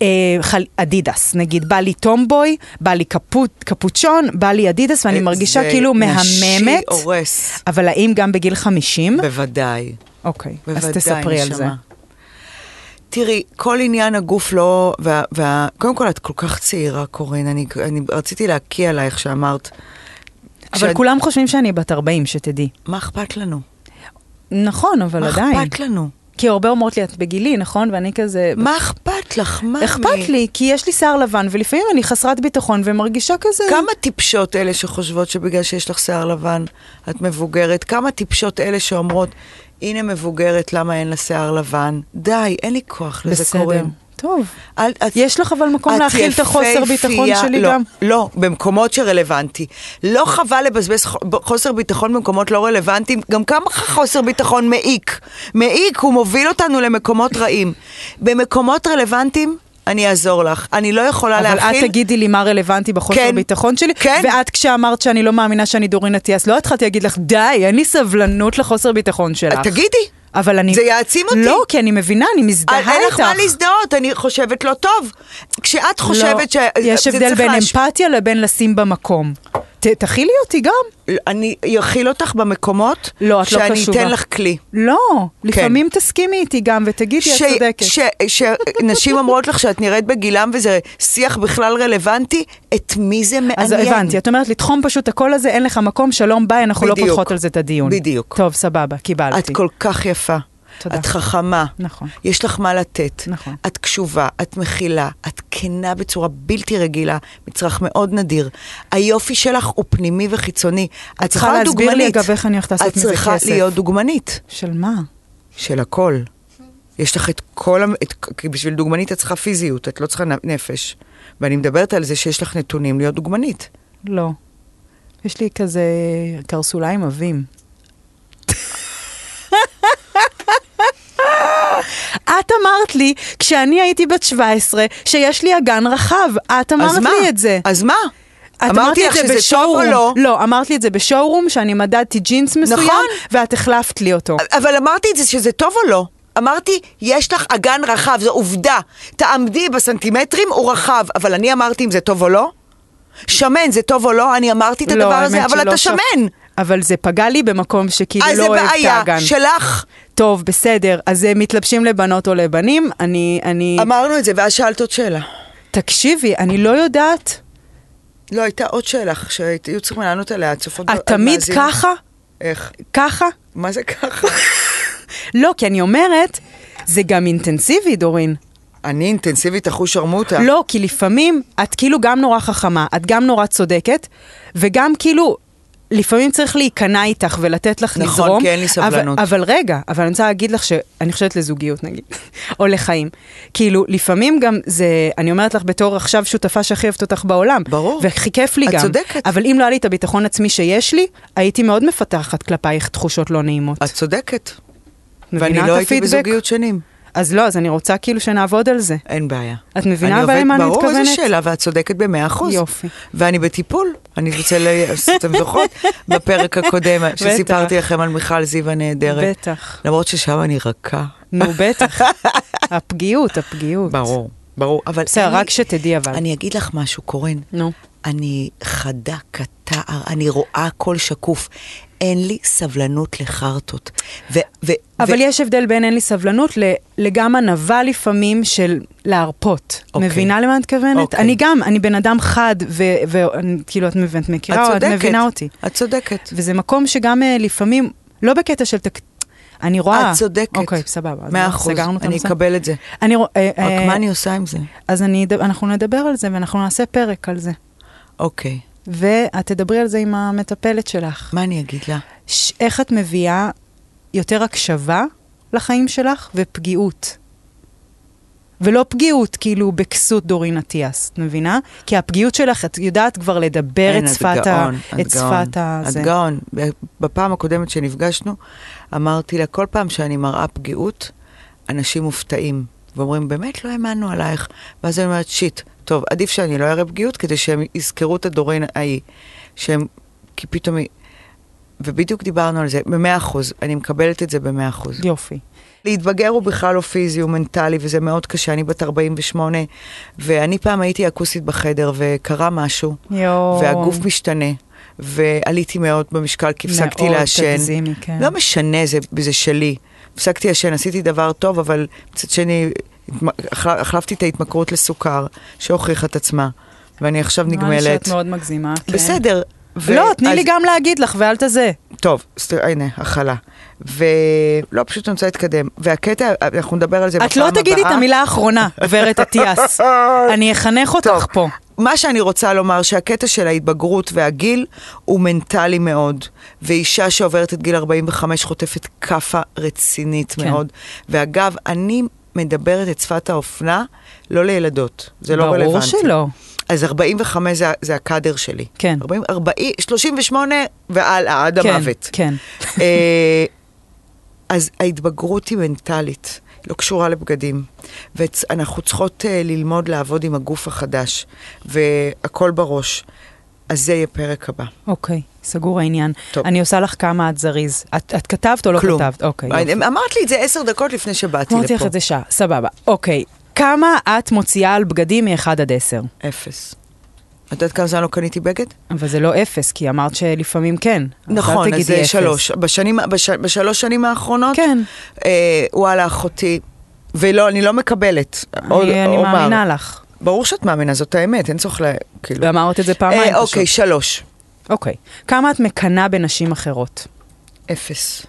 A: אה, חל- אדידס, נגיד, בא לי טומבוי, בא לי קפוט, קפוצ'ון, בא לי אדידס, ואני
B: אה, זה
A: מרגישה כאילו
B: נשי
A: מהממת.
B: הורס.
A: אבל האם גם בגיל 50?
B: בוודאי.
A: אוקיי, אז
B: בוודאי,
A: תספרי על זה.
B: נשמה. תראי, כל עניין הגוף לא... וה, וה, קודם כל, את כל כך צעירה, קורין. אני, אני רציתי להקיא עלייך שאמרת...
A: אבל
B: כשאת-
A: כולם חושבים שאני בת 40, שתדעי.
B: מה אכפת לנו?
A: נכון, אבל
B: מה
A: עדיין.
B: אכפת לנו?
A: כי הרבה אומרות לי, את בגילי, נכון? ואני כזה...
B: מה אכפת לך? מה?
A: אכפת לי, כי יש לי שיער לבן, ולפעמים אני חסרת ביטחון ומרגישה כזה...
B: כמה טיפשות אלה שחושבות שבגלל שיש לך שיער לבן את מבוגרת? כמה טיפשות אלה שאומרות, הנה מבוגרת, למה אין לה שיער לבן? די, אין לי כוח לזה
A: בסדר.
B: קוראים.
A: טוב.
B: אל- את-
A: יש לך אבל מקום
B: את
A: להכיל את החוסר ביטחון
B: יפהפייה-
A: שלי
B: לא,
A: גם?
B: לא, במקומות שרלוונטי. לא חבל לבזבז ח- ב- חוסר ביטחון במקומות לא רלוונטיים. גם כמה ח- חוסר ביטחון מעיק. מעיק, הוא מוביל אותנו למקומות רעים. במקומות רלוונטיים, אני אעזור לך. אני לא יכולה
A: אבל
B: להכיל...
A: את תגידי לי מה רלוונטי בחוסר
B: כן.
A: ביטחון שלי,
B: כן.
A: ואת כשאמרת שאני לא מאמינה שאני דורין אטיאס, לא התחלתי להגיד לך, די, אין לי סבלנות לחוסר ביטחון שלך.
B: תגידי.
A: אבל אני...
B: זה יעצים אותי. אה,
A: לא, כי אני מבינה, אני מזדהה איתך.
B: אין לך מה להזדהות, אני חושבת לא טוב. כשאת חושבת ש... אה,
A: לא, יש
B: זה
A: הבדל
B: צריך
A: בין
B: להש-
A: אמפתיה לבין לשים במקום. ת- תכילי אותי גם.
B: אני אכיל אותך במקומות
A: לא, את לא
B: שאני
A: קשובה.
B: אתן לך כלי.
A: לא,
B: כן.
A: לפעמים תסכימי איתי גם ותגידי, את צודקת.
B: שנשים אומרות לך שאת נראית בגילם וזה שיח בכלל רלוונטי, את מי זה מעניין?
A: אז הבנתי, את אומרת לתחום פשוט הקול הזה, אין לך מקום, שלום, ביי, אנחנו לא
B: בדיוק.
A: פותחות על זה את הדיון.
B: בדיוק.
A: טוב, סבבה, קיבלתי.
B: את כל כך יפה.
A: תודה.
B: את חכמה.
A: נכון.
B: יש לך מה לתת.
A: נכון.
B: את קשובה, את מכילה, את כנה בצורה בלתי רגילה, מצרך מאוד נדיר. היופי שלך הוא פנימי וחיצוני. את
A: צריכה
B: צריכה
A: להסביר לי,
B: דוגמנית.
A: אגב, איך אני הולכת לעשות מזה
B: את צריכה
A: כסף.
B: להיות דוגמנית
A: של מה?
B: של הכל. יש לך את כל, המ- את, כי בשביל דוגמנית את צריכה פיזיות, את לא צריכה נ- נפש. ואני מדברת על זה שיש לך נתונים להיות דוגמנית.
A: לא. יש לי כזה קרסוליים עבים. את אמרת לי, כשאני הייתי בת 17, שיש לי אגן רחב. את
B: אז
A: אמרת
B: מה?
A: לי את זה.
B: אז מה?
A: את אמרת לי את
B: אמרתי
A: זה
B: לך שזה טוב או
A: בשואורום.
B: לא?
A: לא, אמרת לי את זה בשואורום, שאני מדדתי ג'ינס מסוים,
B: נכון.
A: ואת החלפת לי אותו.
B: אבל אמרתי את זה שזה טוב או לא? אמרתי, יש לך אגן רחב, זו עובדה. תעמדי בסנטימטרים, הוא רחב. אבל אני אמרתי אם זה טוב או לא? שמן, זה טוב או לא? אני אמרתי את
A: לא,
B: הדבר הזה,
A: האמת
B: אבל
A: שלא
B: אתה
A: שם.
B: שמן.
A: אבל זה פגע לי במקום שכאילו
B: אז
A: לא
B: זה
A: אוהב את
B: בעיה
A: האגן.
B: שלך.
A: טוב, בסדר, אז אה, מתלבשים לבנות או לבנים, אני... אני...
B: אמרנו את זה, ואז שאלת עוד שאלה.
A: תקשיבי, אני לא יודעת.
B: לא, הייתה עוד שאלה שהיו צריכים לענות עליה, הצופות...
A: את תמיד
B: המאזינות.
A: ככה?
B: איך?
A: ככה?
B: מה זה ככה?
A: לא, כי אני אומרת, זה גם אינטנסיבי, דורין.
B: אני אינטנסיבית אחוש שרמוטה.
A: לא, כי לפעמים את כאילו גם נורא חכמה, את גם נורא צודקת, וגם כאילו... לפעמים צריך להיכנע איתך ולתת לך
B: נכון,
A: לזרום.
B: כי אין לי סבלנות.
A: אבל, אבל רגע, אבל אני רוצה להגיד לך שאני חושבת לזוגיות נגיד, או לחיים. כאילו, לפעמים גם זה, אני אומרת לך בתור עכשיו שותפה שהכי אוהבת אותך בעולם.
B: ברור.
A: והכי כיף לי
B: את
A: גם.
B: צודקת.
A: אבל אם לא היה לי את הביטחון עצמי שיש לי, הייתי מאוד מפתחת כלפייך תחושות לא נעימות.
B: את צודקת.
A: מבינה
B: ואני
A: את
B: לא הייתי
A: הפידבק?
B: בזוגיות שנים.
A: אז לא, אז אני רוצה כאילו שנעבוד על זה.
B: אין בעיה.
A: את מבינה
B: אני
A: אבל
B: עובד-
A: למה אני
B: ברור,
A: מתכוונת?
B: איזו שאלה, ואת צודקת במאה אחוז.
A: יופי.
B: ואני בטיפול. אני רוצה ל... אתם זוכרות? בפרק הקודם שסיפרתי לכם על מיכל זיו הנהדרת.
A: בטח.
B: למרות ששם אני רכה.
A: נו, בטח. הפגיעות, הפגיעות.
B: ברור, ברור. אבל...
A: בסדר,
B: אני-
A: רק שתדעי אבל.
B: אני אגיד לך משהו, קורן.
A: נו.
B: אני חדה כתער, אני רואה הכל שקוף. אין לי סבלנות לחרטות. ו... ו...
A: אבל
B: ו...
A: יש הבדל בין אין לי סבלנות ל- לגם ענווה לפעמים של להרפות.
B: אוקיי.
A: מבינה למה את מתכוונת?
B: אוקיי.
A: אני גם, אני בן אדם חד, וכאילו כאילו, את מבין- את מכירה או את מבינה אותי.
B: את צודקת.
A: וזה מקום שגם אה, לפעמים, לא בקטע של תק... אני רואה...
B: את צודקת.
A: אוקיי, סבבה. אז
B: מאה
A: מה,
B: אחוז,
A: סגרנו את
B: אני
A: הנושא?
B: אקבל את זה.
A: אני רואה... אה,
B: רק
A: אה,
B: מה אני עושה עם זה?
A: אז אני, אד- אנחנו נדבר על זה, ואנחנו נעשה פרק על זה.
B: אוקיי.
A: ואת תדברי על זה עם המטפלת שלך.
B: מה אני אגיד לה?
A: ש- איך את מביאה יותר הקשבה לחיים שלך ופגיעות. ולא פגיעות, כאילו, בכסות דורין אטיאס, את מבינה? כי הפגיעות שלך, את יודעת כבר לדבר
B: אין,
A: את
B: את
A: שפת ה...
B: גאון, את
A: את
B: גאון,
A: שפת ה...
B: את
A: זה.
B: גאון. בפעם הקודמת שנפגשנו, אמרתי לה, כל פעם שאני מראה פגיעות, אנשים מופתעים. ואומרים, באמת לא האמנו עלייך. ואז אני אומרת, שיט, טוב, עדיף שאני לא אראה פגיעות, כדי שהם יזכרו את הדורין ההיא. שהם, כי פתאום... היא- ובדיוק דיברנו על זה, במאה אחוז, אני מקבלת את זה במאה אחוז.
A: יופי.
B: להתבגר הוא בכלל לא פיזי, הוא מנטלי, וזה מאוד קשה. אני בת 48, ואני פעם הייתי אקוסית בחדר, וקרה משהו,
A: יואו.
B: והגוף משתנה, ועליתי מאוד במשקל, כי הפסקתי לעשן.
A: מאוד תגזימי, כן.
B: לא משנה, זה, זה שלי. הפסקתי לעשן, עשיתי דבר טוב, אבל מצד שני, התמ- החל- החלפתי את ההתמכרות לסוכר, שהוכיחה את עצמה, ואני עכשיו
A: נראה לי
B: נגמלת.
A: שאת מאוד מגזימה, כן.
B: בסדר, ו-
A: לא, תני
B: אז-
A: לי גם להגיד לך ואל תזה.
B: טוב, סת... הנה, הכלה. ולא, פשוט אני רוצה להתקדם. והקטע, אנחנו נדבר על זה בפעם
A: את לא
B: הבאה.
A: תגידי את המילה האחרונה, גברת אטיאס. אני אחנך אותך
B: טוב.
A: פה.
B: מה שאני רוצה לומר, שהקטע של ההתבגרות והגיל הוא מנטלי מאוד. ואישה שעוברת את גיל 45 חוטפת כאפה רצינית
A: כן.
B: כן. מאוד. ואגב, אני מדברת את שפת האופנה, לא לילדות. זה לא רלוונטי.
A: ברור שלא.
B: אז 45 זה, זה הקאדר שלי.
A: כן.
B: 40, 40, 38 והלאה, עד
A: כן,
B: המוות.
A: כן.
B: אה, אז ההתבגרות היא מנטלית, לא קשורה לבגדים. ואנחנו צריכות אה, ללמוד לעבוד עם הגוף החדש, והכל בראש. אז זה יהיה פרק הבא.
A: אוקיי, סגור העניין.
B: טוב.
A: אני עושה לך כמה את זריז. את את כתבת או לא
B: כלום.
A: כתבת? אוקיי. יופי.
B: אני- אמרת לי את זה עשר דקות לפני שבאתי
A: אמרתי לך
B: לפה.
A: את זה שעה, סבבה. אוקיי, כמה את מוציאה על בגדים מ-1 עד 10?
B: אפס. את יודעת כמה זמן לא קניתי בגד?
A: אבל זה לא אפס, כי אמרת שלפעמים כן. אז אל
B: נכון,
A: תגידי
B: אז זה
A: אפס.
B: שלוש. בשנים, בש, בשלוש שנים האחרונות?
A: כן.
B: אה, וואלה, אחותי. ולא, אני לא מקבלת. עוד-
A: אני אני
B: אומר.
A: מאמינה לך.
B: ברור שאת מאמינה, זאת האמת, אין צורך ל... כאילו...
A: ואמרת את זה פעמיים
B: אה,
A: פשוט.
B: אוקיי, שלוש.
A: אוקיי. כמה את מקנאה בנשים אחרות?
B: אפס.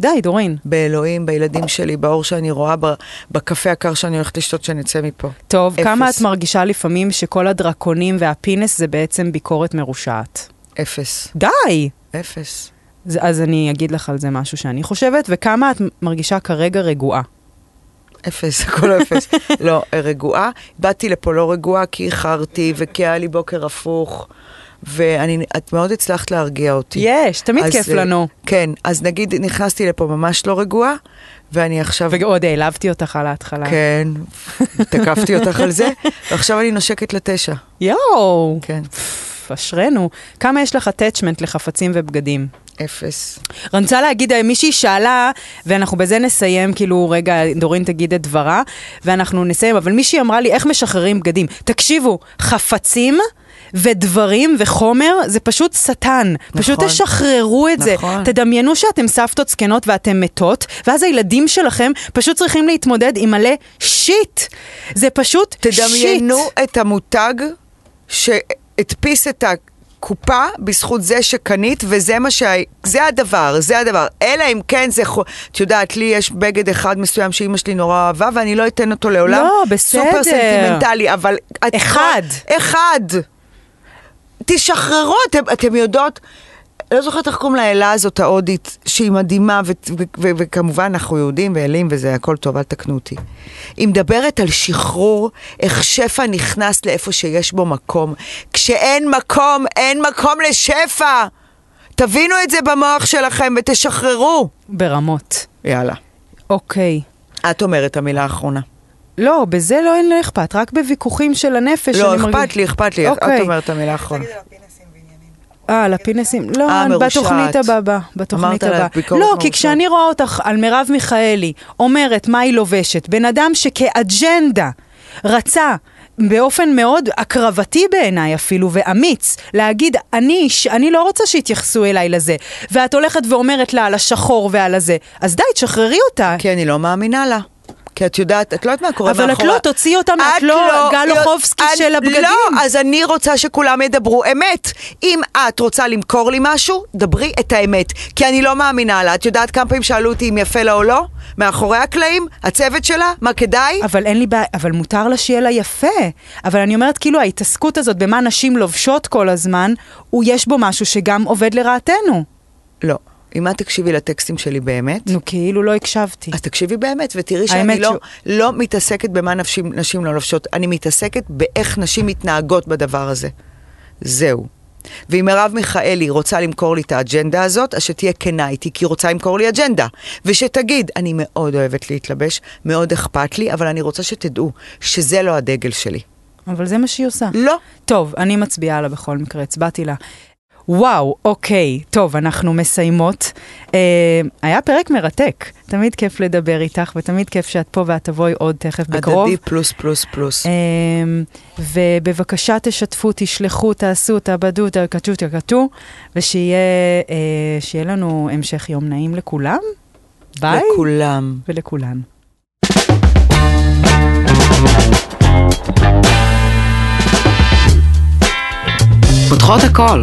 A: די, דורין.
B: באלוהים, בילדים שלי, באור שאני רואה, ב- בקפה הקר שאני הולכת לשתות כשאני אצא מפה.
A: טוב,
B: אפס.
A: כמה את מרגישה לפעמים שכל הדרקונים והפינס זה בעצם ביקורת מרושעת?
B: אפס.
A: די!
B: אפס.
A: אז- אז אני אגיד לך על זה משהו שאני חושבת, וכמה את מרגישה כרגע רגועה.
B: אפס, הכל אפס. לא, רגועה. באתי לפה לא רגועה כי איחרתי וכי היה לי בוקר הפוך, ואת מאוד הצלחת להרגיע אותי.
A: יש, תמיד
B: אז,
A: כיף
B: אה,
A: לנו.
B: כן, אז נגיד נכנסתי לפה ממש לא רגועה, ואני עכשיו...
A: ועוד העלבתי אותך על ההתחלה.
B: כן, תקפתי אותך על זה, ועכשיו אני נושקת לתשע.
A: יואו!
B: כן,
A: פפ, אשרנו. כמה יש לך attachment לחפצים ובגדים?
B: אפס.
A: אני רוצה להגיד, אה, מישהי שאלה, ואנחנו בזה נסיים, כאילו, רגע, דורין תגיד את דברה, ואנחנו נסיים, אבל מישהי אמרה לי, איך משחררים בגדים? תקשיבו, חפצים... ודברים וחומר זה פשוט שטן, נכון, פשוט
B: נכון.
A: תשחררו את זה.
B: נכון.
A: תדמיינו שאתם סבתות זקנות ואתם מתות, ואז הילדים שלכם פשוט צריכים להתמודד עם מלא שיט. זה פשוט שיט.
B: תדמיינו את המותג שהדפיס את הקופה בזכות זה שקנית, וזה מה שה... זה הדבר, זה הדבר. אלא אם כן זה... חו- את יודעת, לי יש בגד אחד מסוים שאימא שלי נורא אהבה, ואני לא אתן אותו לעולם.
A: לא, בסדר.
B: סופר סנטימנטלי, אבל... את- לא-
A: אחד.
B: אחד. תשחררו, אתם, אתם יודעות... לא זוכרת איך קוראים לאלה הזאת, ההודית, שהיא מדהימה, ו- ו- ו- וכמובן אנחנו יהודים ואלים וזה, הכל טוב, אל תקנו אותי. היא מדברת על שחרור, איך שפע נכנס לאיפה שיש בו מקום. כשאין מקום, אין מקום לשפע. תבינו את זה במוח שלכם ותשחררו.
A: ברמות.
B: יאללה.
A: אוקיי.
B: את אומרת המילה האחרונה.
A: לא, בזה לא אין לי אכפת, רק בוויכוחים של הנפש.
B: לא,
A: אני מרגיש-
B: אכפת לי, אכפת לי. את
A: אוקיי.
B: אומרת את המילה האחרונה.
A: אה, על הפינסים. לא,
B: אה,
A: אני-
B: מרושעת.
A: בתוכנית הבאה, בא, בתוכנית
B: אמרת עליה
A: הבאה.
B: ביקורת
A: לא, כי
B: מרושעת.
A: כשאני רואה אותך על מרב מיכאלי אומרת מה היא לובשת, בן אדם שכאג'נדה רצה... באופן מאוד הקרבתי בעיניי אפילו, ואמיץ, להגיד, אני, ש... אני לא רוצה שיתייחסו אליי לזה. ואת הולכת ואומרת לה על השחור ועל הזה, אז די, תשחררי אותה.
B: כי אני לא מאמינה לה. כי את יודעת, את לא יודעת מה קורה
A: אבל
B: מאחורי...
A: את לא, תוציאי אותה מה- את לא גל אוחובסקי
B: אני-
A: של הבגדים.
B: לא, אז אני רוצה שכולם ידברו אמת. אם את רוצה למכור לי משהו, דברי את האמת. כי אני לא מאמינה לה. את יודעת כמה פעמים שאלו אותי אם יפה לה או לא? מאחורי הקלעים? הצוות שלה? מה כדאי?
A: אבל אין לי בעיה, אבל מותר לה שיהיה לה יפה. אבל אני אומרת, כאילו ההתעסקות הזאת במה נשים לובשות כל הזמן, הוא יש בו משהו שגם עובד לרעתנו.
B: לא. אם את תקשיבי לטקסטים שלי באמת,
A: נו, כאילו לא הקשבתי.
B: אז תקשיבי באמת, ותראי שאני
A: האמת
B: לא,
A: שהוא-
B: לא מתעסקת במה נשים, נשים לא לובשות, אני מתעסקת באיך נשים מתנהגות בדבר הזה. זהו. ואם מרב מיכאלי רוצה למכור לי את האג'נדה הזאת, אז שתהיה כנה איתי, כי היא רוצה למכור לי אג'נדה. ושתגיד, אני מאוד אוהבת להתלבש, מאוד אכפת לי, אבל אני רוצה שתדעו שזה לא הדגל שלי.
A: אבל זה מה שהיא עושה.
B: לא.
A: טוב, אני מצביעה לה בכל מקרה, הצבעתי לה. וואו, אוקיי, טוב, אנחנו מסיימות. אה, היה פרק מרתק, תמיד כיף לדבר איתך, ותמיד כיף שאת פה ואת תבואי עוד תכף בקרוב.
B: הדדי פלוס פלוס פלוס.
A: אמ, ובבקשה תשתפו, תשלחו, תעשו, תעבדו, תקטו, תקטו, ושיהיה אה, שיהיה לנו המשך יום נעים לכולם. ביי.
B: לכולם.
A: ולכולן.
C: פותחות הכל.